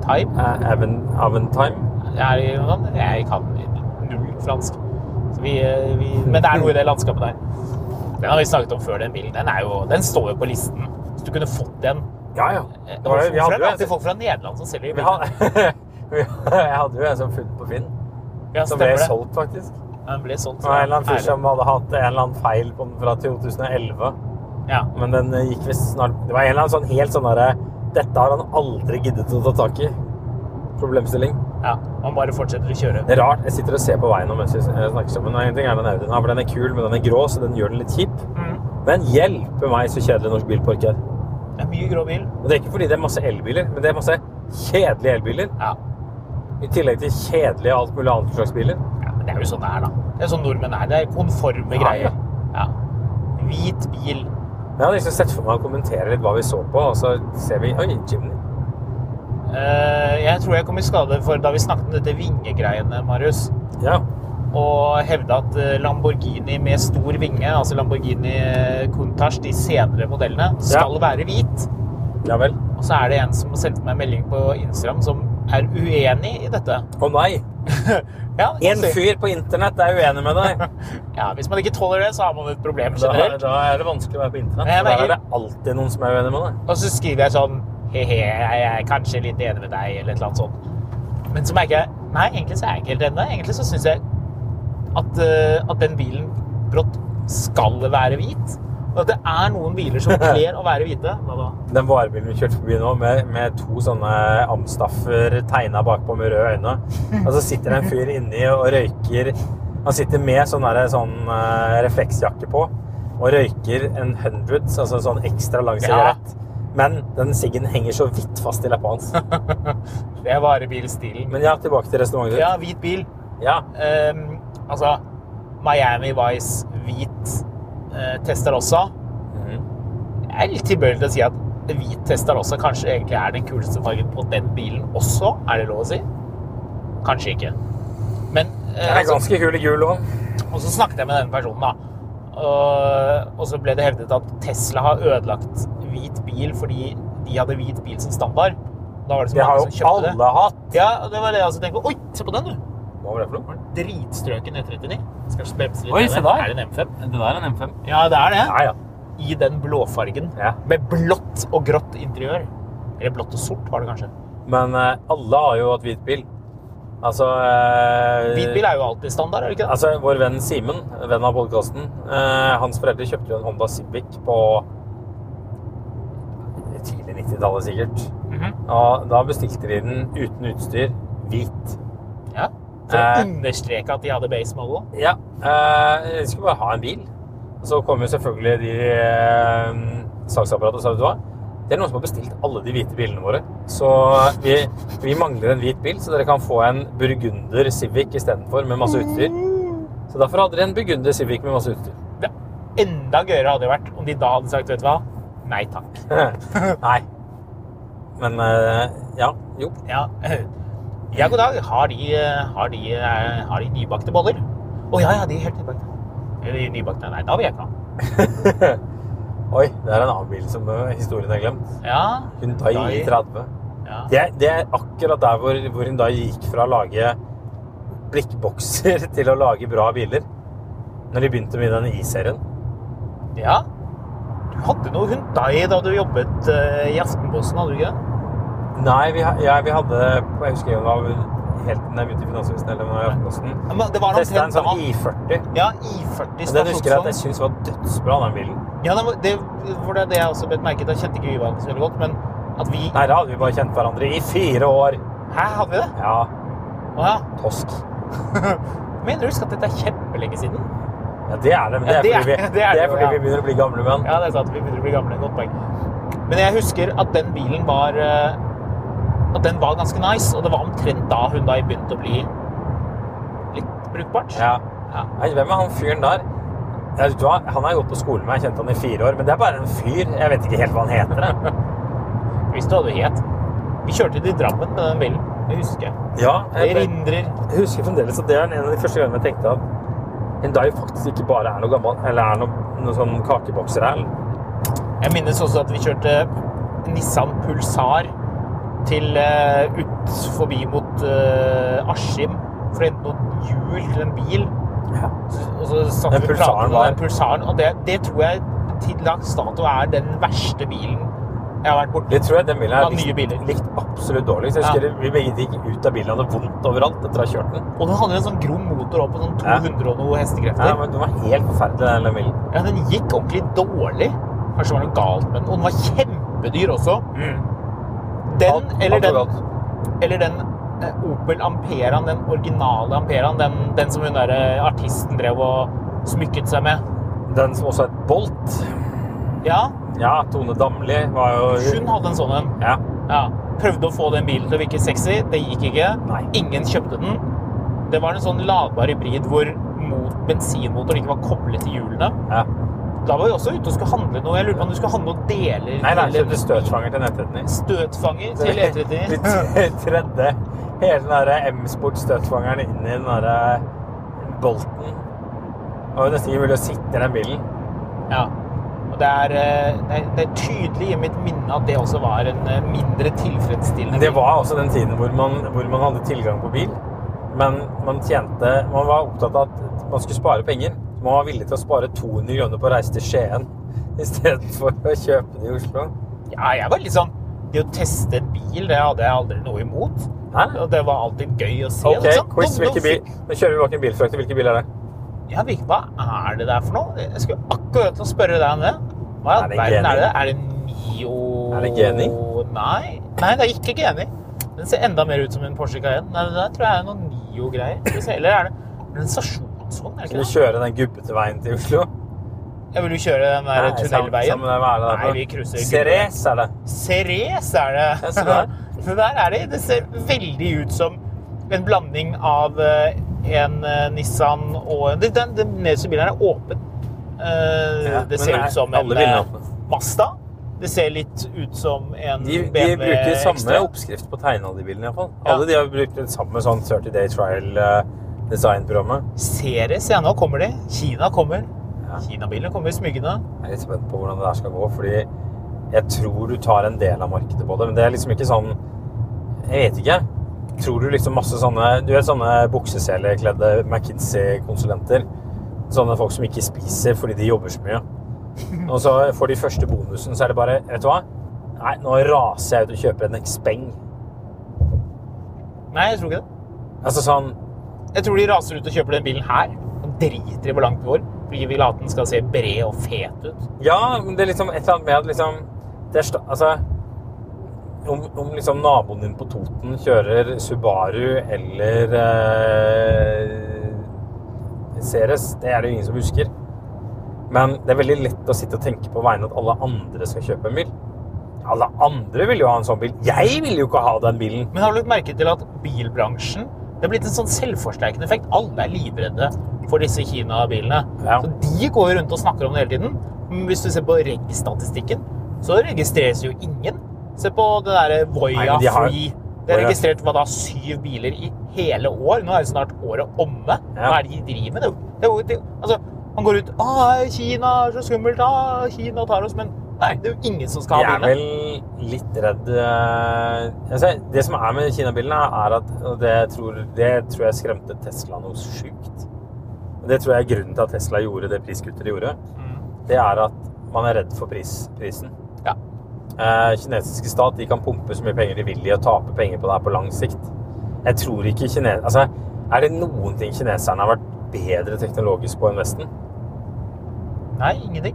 [SPEAKER 1] Time?
[SPEAKER 2] Eh, Aven- Aventime.
[SPEAKER 1] Jeg, er- sånn. jeg kan null fransk. Så vi, eh, vi, men det er noe i det landskapet der. Den har vi snakket om før, den bilen. Den, er jo, den står jo på listen. Hvis du kunne fått den
[SPEAKER 2] Ja, ja.
[SPEAKER 1] eh,
[SPEAKER 2] Det var, jo-
[SPEAKER 1] folk
[SPEAKER 2] vi
[SPEAKER 1] fra-
[SPEAKER 2] hadde jo
[SPEAKER 1] alltid
[SPEAKER 2] en,
[SPEAKER 1] folk fra Nederland som selger
[SPEAKER 2] vi
[SPEAKER 1] bilen.
[SPEAKER 2] hadde, *laughs* vi, jeg hadde jo en som funnet på Finn,
[SPEAKER 1] Ja,
[SPEAKER 2] som
[SPEAKER 1] stemmer
[SPEAKER 2] ble
[SPEAKER 1] det.
[SPEAKER 2] solgt faktisk.
[SPEAKER 1] Den ble solgt.
[SPEAKER 2] Det var en eller annen fyr
[SPEAKER 1] Ærlig.
[SPEAKER 2] som hadde hatt en eller annen feil på den fra 2011.
[SPEAKER 1] Ja.
[SPEAKER 2] Men den eh, gikk visst snart Det var en eller annen sånn helt sånn derre Dette har han aldri giddet å ta tak i. Problemstilling.
[SPEAKER 1] ja. Man bare fortsetter å kjøre.
[SPEAKER 2] Det er Rart. Jeg sitter og ser på veien nå mens vi s- eh, snakker sammen. En ting er den Audien, her, for den er kul, men den er grå, så den gjør den litt kjip.
[SPEAKER 1] Mm.
[SPEAKER 2] Men hjelpe meg, så kjedelig norsk bilpark er.
[SPEAKER 1] Det er mye grå bil.
[SPEAKER 2] Og det er ikke fordi det er masse elbiler, men det er masse kjedelige elbiler.
[SPEAKER 1] Ja.
[SPEAKER 2] I tillegg til kjedelige alt mulig annet slags biler.
[SPEAKER 1] ja. Men det er jo sånn det er, da. Det er sånn nordmenn er. Det er konforme
[SPEAKER 2] Ja, ja.
[SPEAKER 1] greier. Ja. Hvit bil.
[SPEAKER 2] Men jeg hadde liksom sett for meg å kommentere litt hva vi så på, og så ser vi Oi, Jimny.
[SPEAKER 1] Eh, jeg tror jeg kom i skade for da vi snakket om dette vingegreiene, Marius.
[SPEAKER 2] Ja.
[SPEAKER 1] og hevde at eh, Lamborghini med stor vinge, altså Lamborghini eh, Countach, de senere modellene, skal være hvit.
[SPEAKER 2] Ja vel.
[SPEAKER 1] Og så er det en som sendte meg en melding på Instagram som er uenig i dette.
[SPEAKER 2] Å nei!
[SPEAKER 1] Ja,
[SPEAKER 2] En
[SPEAKER 1] så-
[SPEAKER 2] fyr på internett er uenig med *laughs* deg.
[SPEAKER 1] Ja, hvis man ikke tåler det, så har man et problem
[SPEAKER 2] Da,
[SPEAKER 1] generelt.
[SPEAKER 2] da er det vanskelig å være på internett.
[SPEAKER 1] Nei,
[SPEAKER 2] for
[SPEAKER 1] nei,
[SPEAKER 2] Der er det alltid noen som er uenig med deg.
[SPEAKER 1] Og så skriver jeg sånn He-he, jeg er kanskje litt enig med deg, eller et eller annet sånt. Men så merker jeg Nei, egentlig så er jeg ikke helt enig. med deg. Egentlig så syns jeg at, eh, at den bilen brått skal være hvit. Og at det er noen biler
[SPEAKER 2] *laughs*
[SPEAKER 1] som kler å være hvite. Hva da?
[SPEAKER 2] Den varebilen vi kjørte forbi nå, med, med to sånne amstaffer tegna bakpå med røde øyne. Og så sitter det en fyr inni og røyker Han sitter med sånn, derre- sånn eh, refleksjakke på og røyker en hundreds, altså en sånn ekstra lang
[SPEAKER 1] Ja.
[SPEAKER 2] sigarett. Men den siggen henger så vidt fast i leppa hans.
[SPEAKER 1] Det er varebilstilen.
[SPEAKER 2] Men ja, tilbake til resonnementet
[SPEAKER 1] Ja,
[SPEAKER 2] ditt.
[SPEAKER 1] hvit bil.
[SPEAKER 2] Ja.
[SPEAKER 1] Ehm, altså, Miami Vice, hvit eh, Testarossa.
[SPEAKER 2] Mhm.
[SPEAKER 1] Jeg er litt tilbøyelig til å si at hvit Testarossa kanskje egentlig er den kuleste fargen på den bilen også. Er det lov å si? Kanskje ikke. Men eh,
[SPEAKER 2] Den er
[SPEAKER 1] altså,
[SPEAKER 2] ganske kul i gul òg.
[SPEAKER 1] Og så snakket jeg med denne personen, da. Og, og så ble det hevdet at Tesla har ødelagt hvit bil fordi de hadde hvit bil som standard. Da var det så
[SPEAKER 2] Det har
[SPEAKER 1] mange som
[SPEAKER 2] jo
[SPEAKER 1] kjøpte
[SPEAKER 2] alle
[SPEAKER 1] det.
[SPEAKER 2] hatt.
[SPEAKER 1] Ja, og det var det jeg også tenkte. Oi, se på den, du!
[SPEAKER 2] Hva var det for noe?
[SPEAKER 1] Dritstrøken E39. Skal kanskje bremse litt
[SPEAKER 5] Oi,
[SPEAKER 1] ned
[SPEAKER 5] se der.
[SPEAKER 1] Er det en M5?
[SPEAKER 5] Det der er en M5.
[SPEAKER 1] Ja, det er det.
[SPEAKER 2] Ja, ja.
[SPEAKER 1] I den blåfargen.
[SPEAKER 2] Ja.
[SPEAKER 1] Med blått og grått interiør. Eller blått og sort, var det kanskje.
[SPEAKER 2] Men eh, alle har jo hatt hvit bil. Altså eh,
[SPEAKER 1] Hvit bil er jo alltid standard, er det ikke det?
[SPEAKER 2] Altså, vår venn Simen, venn av podkasten, eh, hans foreldre kjøpte jo en Honda Civic på tidlig 90-tallet, sikkert.
[SPEAKER 1] Mhm.
[SPEAKER 2] Og da bestilte de den uten utstyr, hvit.
[SPEAKER 5] Altså,
[SPEAKER 1] Ja. For å
[SPEAKER 2] Eh.
[SPEAKER 1] understreke at de hadde base model.
[SPEAKER 2] Ja. Eh, jeg skulle bare ha en bil. Og så kom jo selvfølgelig de eh, salgsapparatet og sa vet du hva? Det er noen som har bestilt alle de hvite bilene våre. Så vi, vi mangler en hvit bil, så dere kan få en burgunder Civic istedenfor med masse utstyr. Så derfor hadde dere en burgunder Civic med masse utstyr.
[SPEAKER 1] Det enda gøyere hadde det vært om de da hadde sagt, vet du hva, nei
[SPEAKER 5] *laughs*
[SPEAKER 1] takk.
[SPEAKER 2] Nei. Men eh, ja. Jo.
[SPEAKER 1] Ja. ja, god dag. Har de, eh, har de, eh, har de nybakte boller? Å ja, ja, de er helt nybakte. Eller nybakte, nei, da vil jeg ikke ha.
[SPEAKER 2] Oi, det er en annen bil som eh, historien har glemt.
[SPEAKER 1] Ja,
[SPEAKER 2] Hyundai
[SPEAKER 1] Hyundai.
[SPEAKER 2] i30.
[SPEAKER 1] ja.
[SPEAKER 2] Det, er- det er akkurat der hvor, hvor Hyundai gikk fra å lage blikkbokser *laughs* til å lage bra biler. Når de begynte med den I-serien.
[SPEAKER 1] ja. Du hadde noe Hyundai da du jobbet eh, i Aftenposten, hadde du ikke det?
[SPEAKER 2] Nei, vi, ha- ja, vi hadde Jeg husker jeg var helt da jeg begynte i Finansavisen eller når jeg var i Aftenposten.
[SPEAKER 1] Ja, Men det var
[SPEAKER 2] Testa en
[SPEAKER 1] omtrent
[SPEAKER 2] sånn
[SPEAKER 1] da.
[SPEAKER 2] I40.
[SPEAKER 1] Ja, I40
[SPEAKER 2] Og den husker jeg at
[SPEAKER 1] stasjonsvogn.
[SPEAKER 2] jeg syntes var dødsbra, den bilen.
[SPEAKER 1] Ja, det var det, for det, er det jeg også bet merke til. Da kjente ikke vi hverandre så veldig godt, men at vi
[SPEAKER 2] Nei, da hadde vi bare kjent hverandre i fire år.
[SPEAKER 1] Hæ, hadde vi det?
[SPEAKER 2] Ja,
[SPEAKER 1] Å ja.
[SPEAKER 2] tosk.
[SPEAKER 1] Mener du husk at dette er kjempelenge siden?
[SPEAKER 2] Ja, det er det, men det
[SPEAKER 1] Ja, det
[SPEAKER 2] er fordi vi,
[SPEAKER 1] er-
[SPEAKER 2] det
[SPEAKER 1] det er det
[SPEAKER 2] er
[SPEAKER 1] jo,
[SPEAKER 2] fordi
[SPEAKER 1] ja.
[SPEAKER 2] vi begynner å bli gamle menn.
[SPEAKER 1] Ja, det er sant. Vi begynner å bli gamle. Godt poeng. Men jeg husker at den bilen var eh, At den var ganske nice, og det var omtrent da Hyundai begynte å bli litt brukbart.
[SPEAKER 2] Ja.
[SPEAKER 1] Ja.
[SPEAKER 2] Nei, hvem er han fyren der? Jeg vet du hva, Han har gått på skole med, jeg kjente han i fire år, men det er bare en fyr. Jeg vet ikke helt hva han heter. jeg.
[SPEAKER 1] Hvis du hadde het. Vi kjørte til Drammen med den bilen. Det husker jeg.
[SPEAKER 2] *laughs* Ja,
[SPEAKER 1] Jeg
[SPEAKER 2] jeg,
[SPEAKER 1] erindrer.
[SPEAKER 2] jeg husker fremdeles at det er en av de første gangene jeg tenkte at Hyundai faktisk ikke bare er noe gammel, eller er noe, noe sånn kakebokser her.
[SPEAKER 1] Jeg minnes også at vi kjørte Nissan Pulsar til eh, ut forbi mot eh, Askim for å hente noen hjul til en bil.
[SPEAKER 2] Ja.
[SPEAKER 1] Og så satt
[SPEAKER 2] Den
[SPEAKER 1] vi og pratet
[SPEAKER 2] pulsaren
[SPEAKER 1] om den
[SPEAKER 2] var-
[SPEAKER 1] pulsaren, og det, det tror jeg til dags dato er den verste bilen jeg har vært borti.
[SPEAKER 2] Det tror jeg den bilen
[SPEAKER 1] Ja,
[SPEAKER 2] er
[SPEAKER 1] nye
[SPEAKER 2] likt,
[SPEAKER 1] biler.
[SPEAKER 2] likt absolutt dårligst. Jeg husker
[SPEAKER 1] Ja.
[SPEAKER 2] det- vi begge gikk ut av bilen og hadde vondt overalt etter å ha kjørt den.
[SPEAKER 1] Og den hadde en sånn grom motor opp på sånn
[SPEAKER 2] Ja.
[SPEAKER 1] 200 og noe
[SPEAKER 2] Ja,
[SPEAKER 1] hestekrefter.
[SPEAKER 2] men Den var helt forferdelig, den lille bilen.
[SPEAKER 1] Ja, den gikk ordentlig dårlig. Kanskje det var noe galt med den. Og den var kjempedyr også. Den,
[SPEAKER 2] Mm. Alt-
[SPEAKER 1] eller
[SPEAKER 2] alt var
[SPEAKER 1] den,
[SPEAKER 2] galt.
[SPEAKER 1] Eller den eh, Opel Amperaen, den originale Amperaen, den, den som hun der eh, artisten drev og smykket seg med.
[SPEAKER 2] Den som også het Bolt.
[SPEAKER 1] Ja,
[SPEAKER 2] Ja, Tone Damli var jo
[SPEAKER 1] hun hadde en sånn en.
[SPEAKER 2] Ja.
[SPEAKER 1] Ja. Prøvde å få den bilen til å virke sexy, det gikk ikke.
[SPEAKER 2] Nei.
[SPEAKER 1] Ingen kjøpte den. Det var en sånn ladbar hybrid hvor mot bensinmotoren ikke var koblet til hjulene.
[SPEAKER 2] ja.
[SPEAKER 1] Da var vi også ute og skulle handle noe. Jeg lurte på om du skulle handle noen deler
[SPEAKER 2] Nei, nei,
[SPEAKER 1] til en
[SPEAKER 2] kjøpte støtfanger til nettretten i.
[SPEAKER 1] støtfanger til E E39.
[SPEAKER 2] Tredde E hele den der M-sport-støtfangeren inn i den der eh, bolten. Det var jo nesten ikke mulig å sitte i den bilen.
[SPEAKER 1] Ja. Og det er, eh, det er, det er tydelig i mitt minne at det også var en eh, mindre tilfredsstillende
[SPEAKER 2] Det var også den tiden hvor man, hvor man hadde tilgang på bil, men man tjente Man var opptatt av at man skulle spare penger. Man var villig til å spare 200 kroner på å reise til Skien i stedet for å kjøpe det i Oslo.
[SPEAKER 1] Ja, jeg var litt sånn Det å teste en bil, det hadde jeg aldri noe imot.
[SPEAKER 2] Hæ?
[SPEAKER 1] Og det var alltid gøy å se.
[SPEAKER 2] OK,
[SPEAKER 1] liksom.
[SPEAKER 2] quiz.
[SPEAKER 1] Nå- nå
[SPEAKER 2] Hvilken bil?
[SPEAKER 1] fikk-
[SPEAKER 2] Nå kjører vi bak en bilfrakter. Hvilken bil er det?
[SPEAKER 1] Ja, Vikke, hva er det der for noe? Jeg skulle akkurat til å spørre deg om det. Hva i
[SPEAKER 2] Er
[SPEAKER 1] all
[SPEAKER 2] det
[SPEAKER 1] verden
[SPEAKER 2] Geni?
[SPEAKER 1] er det? Er det Mio
[SPEAKER 2] Er det Geni?
[SPEAKER 1] Nei. Nei, det er ikke Geni. Den ser enda mer ut som en Porsche Cayenne. Nei, det der tror jeg er noen Mio-greier. Skal vi se, Eller er det er det en stasjonsvogn? Er det ikke
[SPEAKER 2] Skal vi
[SPEAKER 1] det?
[SPEAKER 2] kjøre den gubbete veien til Oslo?
[SPEAKER 1] Jeg vil jo kjøre den der
[SPEAKER 2] Nei,
[SPEAKER 1] tunnelveien.
[SPEAKER 2] sammen- sammen med hva er det der for
[SPEAKER 1] Nei,
[SPEAKER 2] noe?
[SPEAKER 1] vi krysser ikke.
[SPEAKER 2] Ceres er det.
[SPEAKER 1] Ceres er det.
[SPEAKER 2] Ja,
[SPEAKER 1] *laughs*
[SPEAKER 2] se der.
[SPEAKER 1] det der er det. Det ser veldig ut som en blanding av eh, en eh, Nissan og en Den, den, den nederste bilen er åpen. Eh,
[SPEAKER 2] Ja,
[SPEAKER 1] det
[SPEAKER 2] men
[SPEAKER 1] ser
[SPEAKER 2] nei,
[SPEAKER 1] ut som en
[SPEAKER 2] alle bilene er
[SPEAKER 1] eh,
[SPEAKER 2] åpne.
[SPEAKER 1] Mazda. Det ser litt ut som en
[SPEAKER 2] De, de
[SPEAKER 1] BMW
[SPEAKER 2] bruker samme
[SPEAKER 1] X3.
[SPEAKER 2] oppskrift på å tegne alle de bilene, iallfall.
[SPEAKER 1] Mm. Ja.
[SPEAKER 2] Alle de har brukt det samme sånn 30 Day eh, Trial-designprogrammet.
[SPEAKER 1] Series, ja. Nå kommer de. Kina kommer. Kinabilene kommer smygende.
[SPEAKER 2] Jeg er litt spent på hvordan det der skal gå, fordi jeg tror du tar en del av markedet på det. Men det er liksom ikke sånn Jeg vet ikke. Tror du liksom masse sånne Du vet sånne bukseselekledde McKinsey-konsulenter? Sånne folk som ikke spiser fordi de jobber så mye. Og så får de første bonusen, så er det bare Vet du hva? Nei, nå raser jeg ut og kjøper en Xpeng.
[SPEAKER 1] Nei, jeg tror ikke det.
[SPEAKER 2] Altså sånn
[SPEAKER 1] Jeg tror de raser ut og kjøper den bilen her. Og driter i hvor langt det går. Fordi de vil at den skal se bred og fet ut.
[SPEAKER 2] Ja, men det er liksom et eller annet med at liksom det er, sta- Altså om, om liksom naboen din på Toten kjører Subaru eller eh, Ceres, det er det jo ingen som husker. Men det er veldig lett å sitte og tenke på vegne at alle andre skal kjøpe en bil. Alle andre vil jo ha en sånn bil. Jeg vil jo ikke ha den bilen.
[SPEAKER 1] Men har du lagt merke til at bilbransjen Det er blitt en sånn selvforsterkende effekt. Alle er livredde for disse Kina-bilene.
[SPEAKER 2] Ja.
[SPEAKER 1] Så de går jo rundt og snakker om det hele tiden. Men hvis du ser på reg-statistikken, så registreres jo ingen. Se på det derre
[SPEAKER 2] Nei,
[SPEAKER 1] Voya
[SPEAKER 2] men de har-
[SPEAKER 1] Free. Det er
[SPEAKER 2] Voya-
[SPEAKER 1] registrert hva da, syv biler i hele år. Nå er jo snart året omme.
[SPEAKER 2] Ja.
[SPEAKER 1] Hva er det de driver med? Det er jo- Det er jo, det, altså, man går ut ah, 'Kina er så skummelt. Ah, Kina tar oss.' Men nei, det er jo ingen som skal
[SPEAKER 2] Jeg
[SPEAKER 1] ha
[SPEAKER 2] er
[SPEAKER 1] bilene.
[SPEAKER 2] vel litt redd eh, altså, Det som er med Kina-bilene, er at og det tror, det tror jeg skremte Tesla noe sjukt. Det tror jeg er grunnen til at Tesla gjorde det priskuttet de gjorde. Det er at man er redd for pris, prisen.
[SPEAKER 1] Ja.
[SPEAKER 2] Eh, kinesiske stat de kan pumpe så mye penger de vil i og tape penger på det her på lang sikt. Jeg tror ikke kine... Altså, er det noen ting kineserne har vært bedre teknologisk på enn Vesten?
[SPEAKER 1] Nei, ingenting.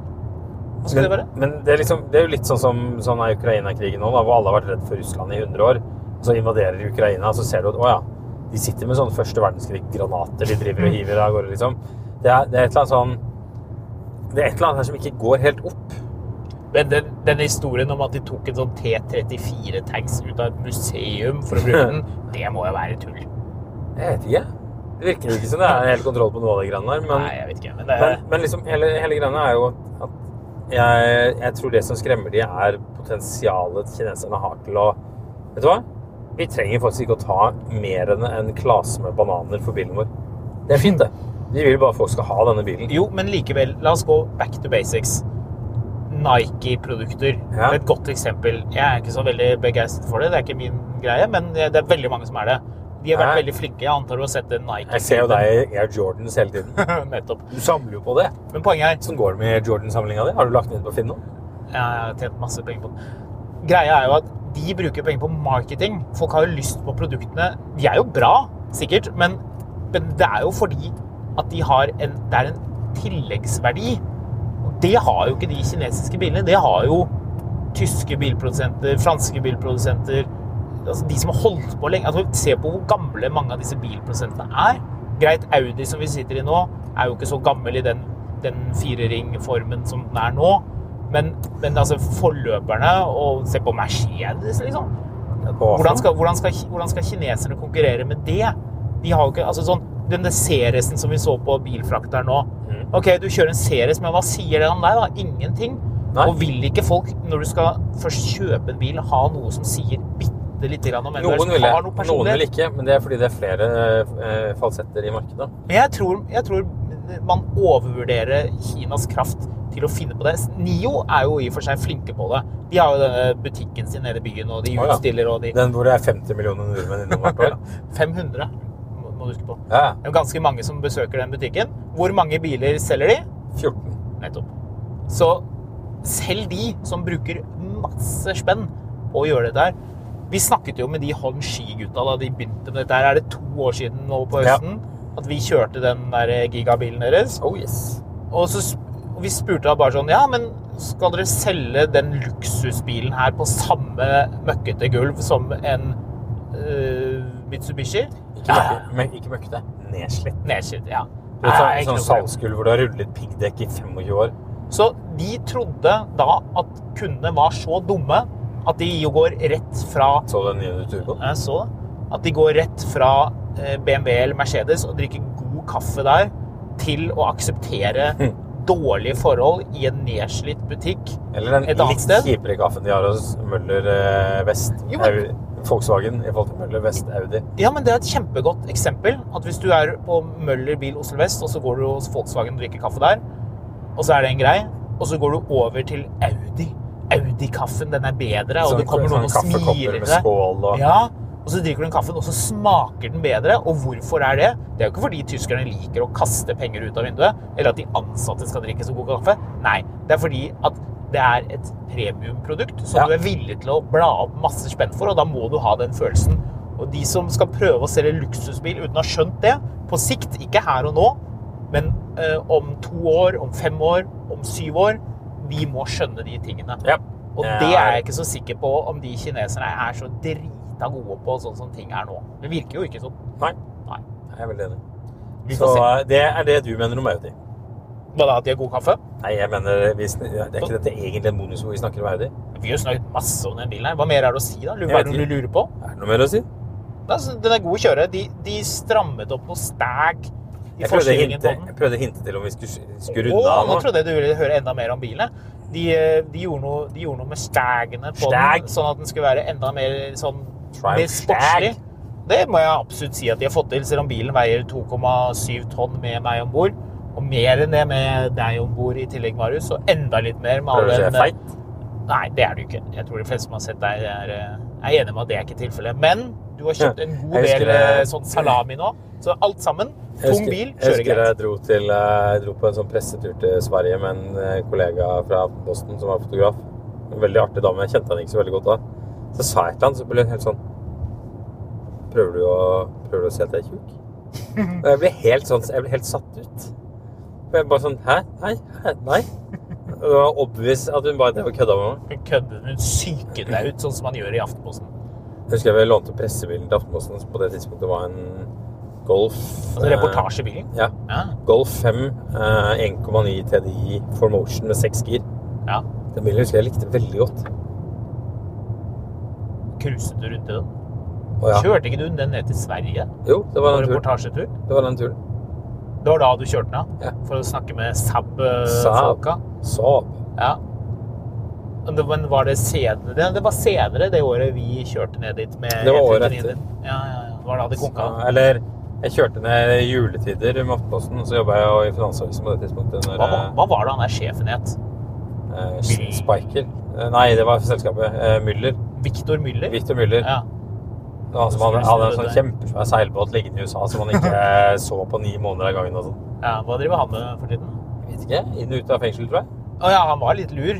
[SPEAKER 1] Hva skal
[SPEAKER 2] Men,
[SPEAKER 1] det være?
[SPEAKER 2] men det, er liksom, det er jo litt sånn som sånn er Ukraina-krigen nå, da, hvor alle har vært redd for Russland i 100 år. Så invaderer de Ukraina, så ser du at å ja, de sitter med sånne første verdenskrig-granater de driver og
[SPEAKER 1] Mm.
[SPEAKER 2] hiver av gårde, liksom. Det er, det er et eller annet sånn Det er et eller annet her som ikke går helt opp.
[SPEAKER 1] Men den, den historien om at de tok en sånn T34-tanks ut av et museum for å
[SPEAKER 2] *laughs*
[SPEAKER 1] bruke den, det må jo være tull.
[SPEAKER 2] Jeg vet ikke. Det virker jo ikke som det er helt kontroll på noe av de greiene der. Men,
[SPEAKER 1] Nei, jeg vet ikke. Men det,
[SPEAKER 2] men, men liksom, hele, hele greiene er jo at- at jeg, jeg tror det som skremmer de, er potensialet kineserne har til å Vet du hva? Vi trenger faktisk ikke å ta mer enn en klase med bananer for bilen vår. Det er fint, det. Vi vil bare at folk skal ha denne bilen.
[SPEAKER 1] jo, men likevel, la oss gå back to basics. Nike-produkter. Det
[SPEAKER 2] Ja.
[SPEAKER 1] er et godt eksempel. Jeg er ikke så veldig begeistret for det, det er ikke min greie, men det det er veldig mange som er det. De har vært
[SPEAKER 2] Nei.
[SPEAKER 1] veldig flinke. Jeg antar du har sett den Nike.
[SPEAKER 2] Jeg ser jo deg i Air Jordans hele tiden.
[SPEAKER 1] *laughs* Nettopp.
[SPEAKER 2] Du samler jo på det.
[SPEAKER 1] Men poenget er
[SPEAKER 2] Hvordan går det med Air Jordan-samlinga di? Har du lagt den ut på Finn nå?
[SPEAKER 1] Jeg har tjent masse penger på den. Greia er jo at de bruker penger på marketing. Folk har jo lyst på produktene. De er jo bra, sikkert, men, men det er jo fordi at de har en, det er en tilleggsverdi. Og det har jo ikke de kinesiske bilene. Det har jo tyske bilprodusenter, franske bilprodusenter altså De som har holdt på lenge. Altså, se på hvor gamle mange av disse bilprodusentene er. Greit, Audi som vi sitter i nå, er jo ikke så gammel i den, den fireringformen som den er nå. Men, men altså forløperne og Se på Mercedes, liksom. Hvordan skal, hvordan, skal, hvordan skal kineserne konkurrere med det? De har jo ikke, altså sånn, Denne Ceresen som vi så på bilfrakter nå.
[SPEAKER 2] Mhm.
[SPEAKER 1] Ok, du kjører en Ceres, men hva sier det om deg? da? Ingenting.
[SPEAKER 2] Nei.
[SPEAKER 1] Og vil ikke folk, når du skal først kjøpe en bil, ha noe som sier bitte lite grann om hvem du er,
[SPEAKER 2] Noen
[SPEAKER 1] som
[SPEAKER 2] vil,
[SPEAKER 1] har noe
[SPEAKER 2] jeg, noen vil
[SPEAKER 1] personlighet?
[SPEAKER 2] ikke, men det er fordi det er flere eh, falsetter i markedet.
[SPEAKER 1] Men jeg tror, jeg tror man overvurderer Kinas kraft til å finne på det. Nio er jo i og for seg flinke på det. De har jo denne butikken sin nede i byen, og de
[SPEAKER 2] Å, ja.
[SPEAKER 1] utstiller, og de
[SPEAKER 2] Den hvor det er 50 millioner nordmenn innom hvert
[SPEAKER 1] *laughs*
[SPEAKER 2] år.
[SPEAKER 1] 500, må må du huske på.
[SPEAKER 2] Ja,
[SPEAKER 1] Det er jo ganske mange som besøker den butikken. Hvor mange biler selger de?
[SPEAKER 2] 14.
[SPEAKER 1] Nettopp. Så selv de som bruker masse spenn på å gjøre det der Vi snakket jo med de Hon Ski-gutta da de begynte med dette. her. Er det to år siden nå på
[SPEAKER 2] Ja.
[SPEAKER 1] høsten at vi kjørte den der eh, gigabilen deres?
[SPEAKER 2] Oh yes.
[SPEAKER 1] Og, så, sp- og vi spurte da bare sånn Ja, men skal dere selge den luksusbilen her på samme møkkete gulv som en øh, Mitsubishi?
[SPEAKER 2] Ikke, møkke, men, ikke møkkete. Nedslitt.
[SPEAKER 1] Nedskitt, ja.
[SPEAKER 2] Du vet,
[SPEAKER 1] Nei, ikke
[SPEAKER 2] sånn
[SPEAKER 1] noe
[SPEAKER 2] sånn
[SPEAKER 1] problem.
[SPEAKER 2] salgsgulv hvor du har rullet piggdekk i 25 år.
[SPEAKER 1] Så de trodde da at kundene var så dumme at de jo går rett fra
[SPEAKER 2] Så du den nye turboen?
[SPEAKER 1] jeg så det, at de går rett fra
[SPEAKER 2] Hm.
[SPEAKER 1] eh, BMW eller Mercedes og drikker god kaffe der til å akseptere dårlige forhold i en nedslitt butikk
[SPEAKER 2] Eller den
[SPEAKER 1] et annet
[SPEAKER 2] litt
[SPEAKER 1] sted.
[SPEAKER 2] kjipere kaffen de har hos Møller eh, Vest
[SPEAKER 1] Jo, men-
[SPEAKER 2] Au- Volkswagen i forhold til Møller Vest Audi.
[SPEAKER 1] Ja, men det er et kjempegodt eksempel. At hvis du er på Møller bil Oslo Vest, og så går du hos Volkswagen og drikker kaffe der, og så er det en grei, og så går du over til Audi. Audi-kaffen, den er bedre, og
[SPEAKER 2] Sånn-
[SPEAKER 1] det kommer noen og
[SPEAKER 2] sånn kaffekopper
[SPEAKER 1] smiler
[SPEAKER 2] med
[SPEAKER 1] til deg.
[SPEAKER 2] skål og
[SPEAKER 1] Ja, og så drikker du den kaffen, og så smaker den bedre. Og hvorfor er det? Det er jo ikke fordi tyskerne liker å kaste penger ut av vinduet, eller at de ansatte skal drikke så god kaffe. Nei, det er fordi at det er et premiumprodukt som
[SPEAKER 2] Ja.
[SPEAKER 1] du er villig til å bla opp masse spenn for, og da må du ha den følelsen. Og de som skal prøve å selge luksusbil uten å ha skjønt det, på sikt, ikke her og nå, men eh, om to år, om fem år, om syv år, de må skjønne de tingene.
[SPEAKER 2] Ja.
[SPEAKER 1] Og
[SPEAKER 2] Eh,
[SPEAKER 1] det er jeg ikke så sikker på om de kineserne er så drita gode på sånn som ting er nå. Det virker jo ikke sånn.
[SPEAKER 2] Nei,
[SPEAKER 1] Nei.
[SPEAKER 2] jeg er veldig enig.
[SPEAKER 1] Vi
[SPEAKER 2] Så
[SPEAKER 1] får se.
[SPEAKER 2] eh, det er det du mener om Audi.
[SPEAKER 1] Hva da, at de har god kaffe?
[SPEAKER 2] Nei, jeg mener vi, sn- ja, Det er ikke dette egentlig en bonus hvor vi snakker om Audi?
[SPEAKER 1] Vi har jo snakket masse om den bilen her. Hva mer er det å si, da? Lurer-
[SPEAKER 2] Jeg
[SPEAKER 1] Hva
[SPEAKER 2] vet
[SPEAKER 1] er det du
[SPEAKER 2] ikke.
[SPEAKER 1] lurer på?
[SPEAKER 2] Er det noe mer å si?
[SPEAKER 1] Nei, altså, Den er god å kjøre. De, de strammet opp noe stæg i
[SPEAKER 2] Jeg prøvde, å
[SPEAKER 1] forskjellingen på
[SPEAKER 2] hinte, jeg
[SPEAKER 1] den.
[SPEAKER 2] prøvde å hinte til om vi skulle, skulle runde
[SPEAKER 1] Åh,
[SPEAKER 2] av
[SPEAKER 1] nå
[SPEAKER 2] nå.
[SPEAKER 1] trodde jeg du ville høre enda mer om bilene. De, eh, de, gjorde, noe, de gjorde noe med stægene på
[SPEAKER 2] Stæg?
[SPEAKER 1] den, sånn at den skulle være enda mer sånn
[SPEAKER 2] Triumph
[SPEAKER 1] mer sportslig.
[SPEAKER 2] stæg.
[SPEAKER 1] Det må jeg absolutt si at de har fått til, selv om bilen veier 2,7 tonn med meg om bord. Og mer enn det med deg om bord i tillegg, Marius. Og enda litt mer med
[SPEAKER 2] Prøver
[SPEAKER 1] all
[SPEAKER 2] å si jeg
[SPEAKER 1] den
[SPEAKER 2] er feit.
[SPEAKER 1] Nei, det er du ikke. Jeg tror de fleste som har sett deg, er, eh, er enige med at det er ikke tilfellet. Men du har kjøpt en god
[SPEAKER 2] Jeg husker
[SPEAKER 1] del eh,
[SPEAKER 2] det.
[SPEAKER 1] sånn salami nå. Så alt sammen.
[SPEAKER 2] Jeg
[SPEAKER 1] Tung
[SPEAKER 2] husker-
[SPEAKER 1] bil,
[SPEAKER 2] Jeg
[SPEAKER 1] kjører
[SPEAKER 2] husker
[SPEAKER 1] greit.
[SPEAKER 2] jeg dro, til, eh, jeg dro på en sånn pressetur til Sverige med en eh, kollega fra Boston som var fotograf. En veldig artig dame. Jeg kjente henne ikke så veldig godt da. Så sa jeg til han, så ble hun helt sånn Prøver du å, prøver du å si at jeg er tjukk?
[SPEAKER 1] *laughs*
[SPEAKER 2] Og jeg ble helt sånn Jeg ble helt satt ut. Og jeg bare sånn Hæ? Nei? Hæ? Nei? Og Det var obvious at hun bare drev og kødda med meg.
[SPEAKER 1] Hun kødder, hun psyker deg ut, sånn som man gjør i Aftenposten.
[SPEAKER 2] Jeg husker jeg lånte pressebilen til Aftenposten, som på det tidspunktet var en Golf
[SPEAKER 1] Altså
[SPEAKER 2] eh,
[SPEAKER 1] reportasjebilen.
[SPEAKER 2] Ja.
[SPEAKER 1] Ja.
[SPEAKER 2] Golf 5, eh, 1,9 TDI Formotion med seks gir.
[SPEAKER 1] ja.
[SPEAKER 2] Den bilen husker jeg likte veldig godt.
[SPEAKER 1] Cruiset du rundt i den?
[SPEAKER 2] Å ja.
[SPEAKER 1] Kjørte ikke du den ned til Sverige
[SPEAKER 2] Jo, det
[SPEAKER 1] på
[SPEAKER 2] var den turen.
[SPEAKER 1] reportasjetur?
[SPEAKER 2] Det var den turen.
[SPEAKER 1] Det var da du kjørte den av?
[SPEAKER 2] Ja.
[SPEAKER 1] For å snakke med
[SPEAKER 2] Saab.
[SPEAKER 1] Saab-folka?
[SPEAKER 2] Så
[SPEAKER 1] Ja. Men det- Men var det senere? Det- Det var senere det året vi kjørte ned dit med
[SPEAKER 2] Det var året
[SPEAKER 1] E39 din. Ja, ja, ja. Det var da det konka.
[SPEAKER 2] Ja, Eh, Eller jeg kjørte ned i juletider med Aftenposten, så jobba jeg jo i Finansavisen på det tidspunktet.
[SPEAKER 1] Hva, var-
[SPEAKER 2] Når,
[SPEAKER 1] hva var det han der sjefen het?
[SPEAKER 2] eh, eh, Spiker Eh, Nei, det var selskapet. Eh, Müller.
[SPEAKER 1] Victor Müller?
[SPEAKER 2] Victor Müller.
[SPEAKER 1] Ja.
[SPEAKER 2] Det var han som hadde, hadde en sånn kjempesvær seilbåt liggende i USA som han ikke
[SPEAKER 1] *laughs*
[SPEAKER 2] eh, så på ni måneder av gangen. og sånn.
[SPEAKER 1] ja. Hva driver han med for tiden?
[SPEAKER 2] Jeg Vet ikke. Inn og ut av fengsel, tror jeg.
[SPEAKER 1] Å ja, han var litt lur.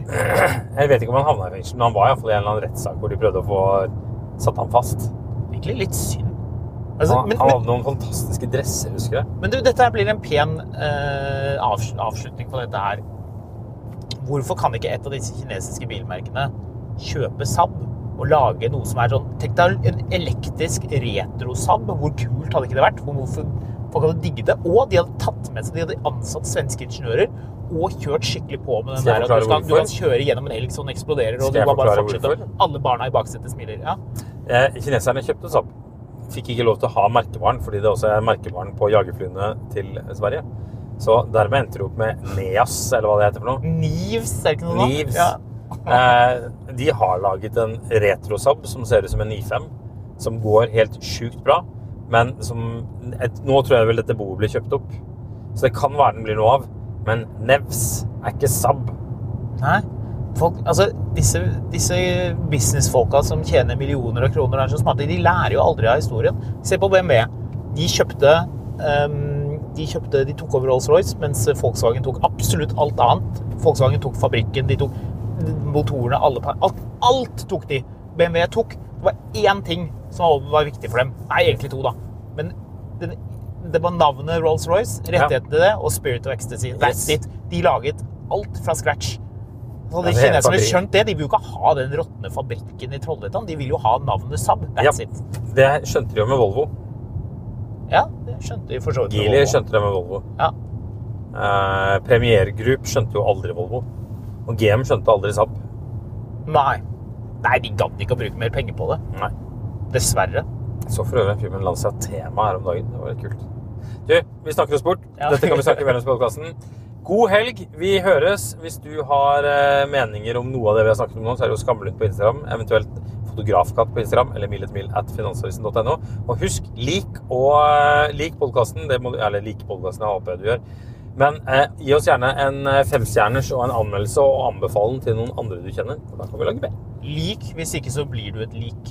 [SPEAKER 2] Jeg vet ikke om han havna i fengsel, men han var iallfall i en eller annen rettssak hvor de prøvde å få satt ham fast.
[SPEAKER 1] Egentlig litt synd. Altså,
[SPEAKER 2] Han,
[SPEAKER 1] men,
[SPEAKER 2] han
[SPEAKER 1] men,
[SPEAKER 2] hadde noen fantastiske dresser, husker jeg.
[SPEAKER 1] Men du, dette her blir en pen eh, avs avslutning på dette her. Hvorfor kan ikke et av disse kinesiske bilmerkene kjøpe Saab og lage noe som er sånn Tenk deg en elektrisk retro-Saab. Hvor kult hadde ikke det vært? Hvor- Hvorfor folk hadde digget det? Og de hadde tatt med seg De hadde ansatt svenske ingeniører og kjørt skikkelig på med den
[SPEAKER 2] Skal
[SPEAKER 1] der
[SPEAKER 2] jeg
[SPEAKER 1] at du,
[SPEAKER 2] forklare
[SPEAKER 1] skal, du kan
[SPEAKER 2] hvorfor?
[SPEAKER 1] kjøre gjennom en elg som eksploderer, og
[SPEAKER 2] Skal
[SPEAKER 1] du
[SPEAKER 2] jeg
[SPEAKER 1] kan bare
[SPEAKER 2] forklare
[SPEAKER 1] fortsette.
[SPEAKER 2] hvorfor?
[SPEAKER 1] Alle barna i baksetet smiler. Ja.
[SPEAKER 2] Eh, kineserne kjøpte Saab. Fikk ikke lov til å ha merkevaren, fordi det også er merkevaren på jagerflyene til Sverige. Så dermed endte det opp med Neas, eller hva det heter for noe.
[SPEAKER 1] Nivs, er det ikke noe da?
[SPEAKER 2] Nivs.
[SPEAKER 1] Ja.
[SPEAKER 2] Eh, de har laget en retro-Saab som ser ut som en 95, som går helt sjukt bra. Men som et, Nå tror jeg vel dette boet blir kjøpt opp, så det kan være den blir noe av. Men Nevs er ikke Saab.
[SPEAKER 1] Nei. Folk, altså, disse, disse businessfolka som tjener millioner av kroner og er så smarte, de lærer jo aldri av historien. Se på BMW. De kjøpte, ehm, de, kjøpte de tok over Rolls-Royce, mens Volkswagen tok absolutt alt annet. Volkswagen tok fabrikken, de tok motorene, alle par, alt, alt tok de. BMW tok. Det var én ting som var viktig for dem. Nei, egentlig to, da. Men den, det var navnet Rolls-Royce, rettigheten til det, og Spirit of Ecstasy. That's
[SPEAKER 2] Yes.
[SPEAKER 1] it. De laget alt fra scratch. Så de
[SPEAKER 2] Ja, det er helt
[SPEAKER 1] kineserne
[SPEAKER 2] fabrikk.
[SPEAKER 1] skjønt det. De vil jo ikke ha den råtne fabrikken i Trollhättan. De vil jo ha navnet Saab. That's
[SPEAKER 2] Ja.
[SPEAKER 1] it.
[SPEAKER 2] Det skjønte de jo med Volvo.
[SPEAKER 1] Ja, det skjønte de for så vidt. med
[SPEAKER 2] Geely
[SPEAKER 1] Volvo.
[SPEAKER 2] skjønte det med Volvo.
[SPEAKER 1] Ja.
[SPEAKER 2] Eh, Premier Group skjønte jo aldri Volvo. Og GM skjønte aldri Saab.
[SPEAKER 1] Nei. Nei, de gadd ikke å bruke mer penger på det.
[SPEAKER 2] Nei.
[SPEAKER 1] Dessverre.
[SPEAKER 2] Jeg så for øvrig en film med Lancia Tema her om dagen. Det var litt kult. Du, vi snakker oss bort.
[SPEAKER 1] Ja.
[SPEAKER 2] Dette kan vi snakke mer om i podkasten. God helg. Vi høres. Hvis du har eh, meninger om noe av det vi har snakket om nå, så er det jo Skamlet på Instagram, eventuelt Fotografkatt på Instagram eller miletmil at finansavisen.no. Og husk, lik og eh, lik podkasten. Eller lik podkasten, jeg håper jeg du gjør. Men eh, gi oss gjerne en eh, femstjerners og en anmeldelse, og anbefal den til noen andre du kjenner. For da kan vi lage bedre.
[SPEAKER 1] Lik. Hvis ikke så blir du et lik.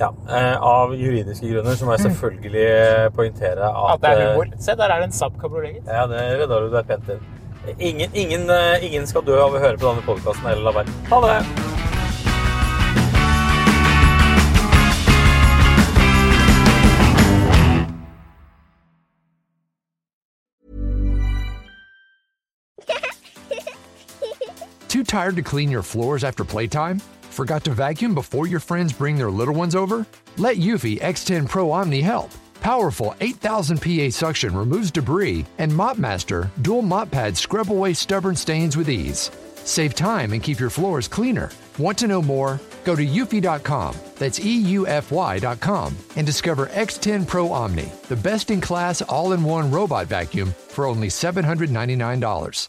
[SPEAKER 2] Ja, eh, Av juridiske grunner så må jeg selvfølgelig eh, poengtere at
[SPEAKER 1] Mm. At det er
[SPEAKER 2] eh,
[SPEAKER 1] humor. Se, der er det en Saab kabriolet.
[SPEAKER 2] Ja, det redda du deg pent inn. Ingen, ingen, eh, ingen skal dø av å høre på denne podkasten eller la være. Ha det!
[SPEAKER 3] Too tired to clean your floors after playtime? Forgot to vacuum before your friends bring their little ones over? Let Eufy X10 Pro Omni help. Powerful 8000 PA suction removes debris, and MopMaster dual mop pads scrub away stubborn stains with ease. Save time and keep your floors cleaner. Want to know more? Go to eufy.com, that's E E-U-F-Y.com, and discover X10 Pro Omni, the best-in-class all-in-one robot vacuum for only $799.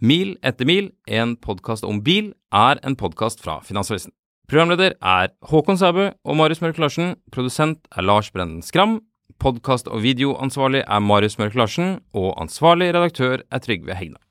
[SPEAKER 5] Mil etter mil, en podkast om bil, er en podkast fra Finansavisen. Programleder er Håkon Sæbø og Marius Mørk Larsen. Produsent er Lars Brenden Skram. Podkast- og videoansvarlig er Marius Mørk Larsen. Og ansvarlig redaktør er Trygve Hegna.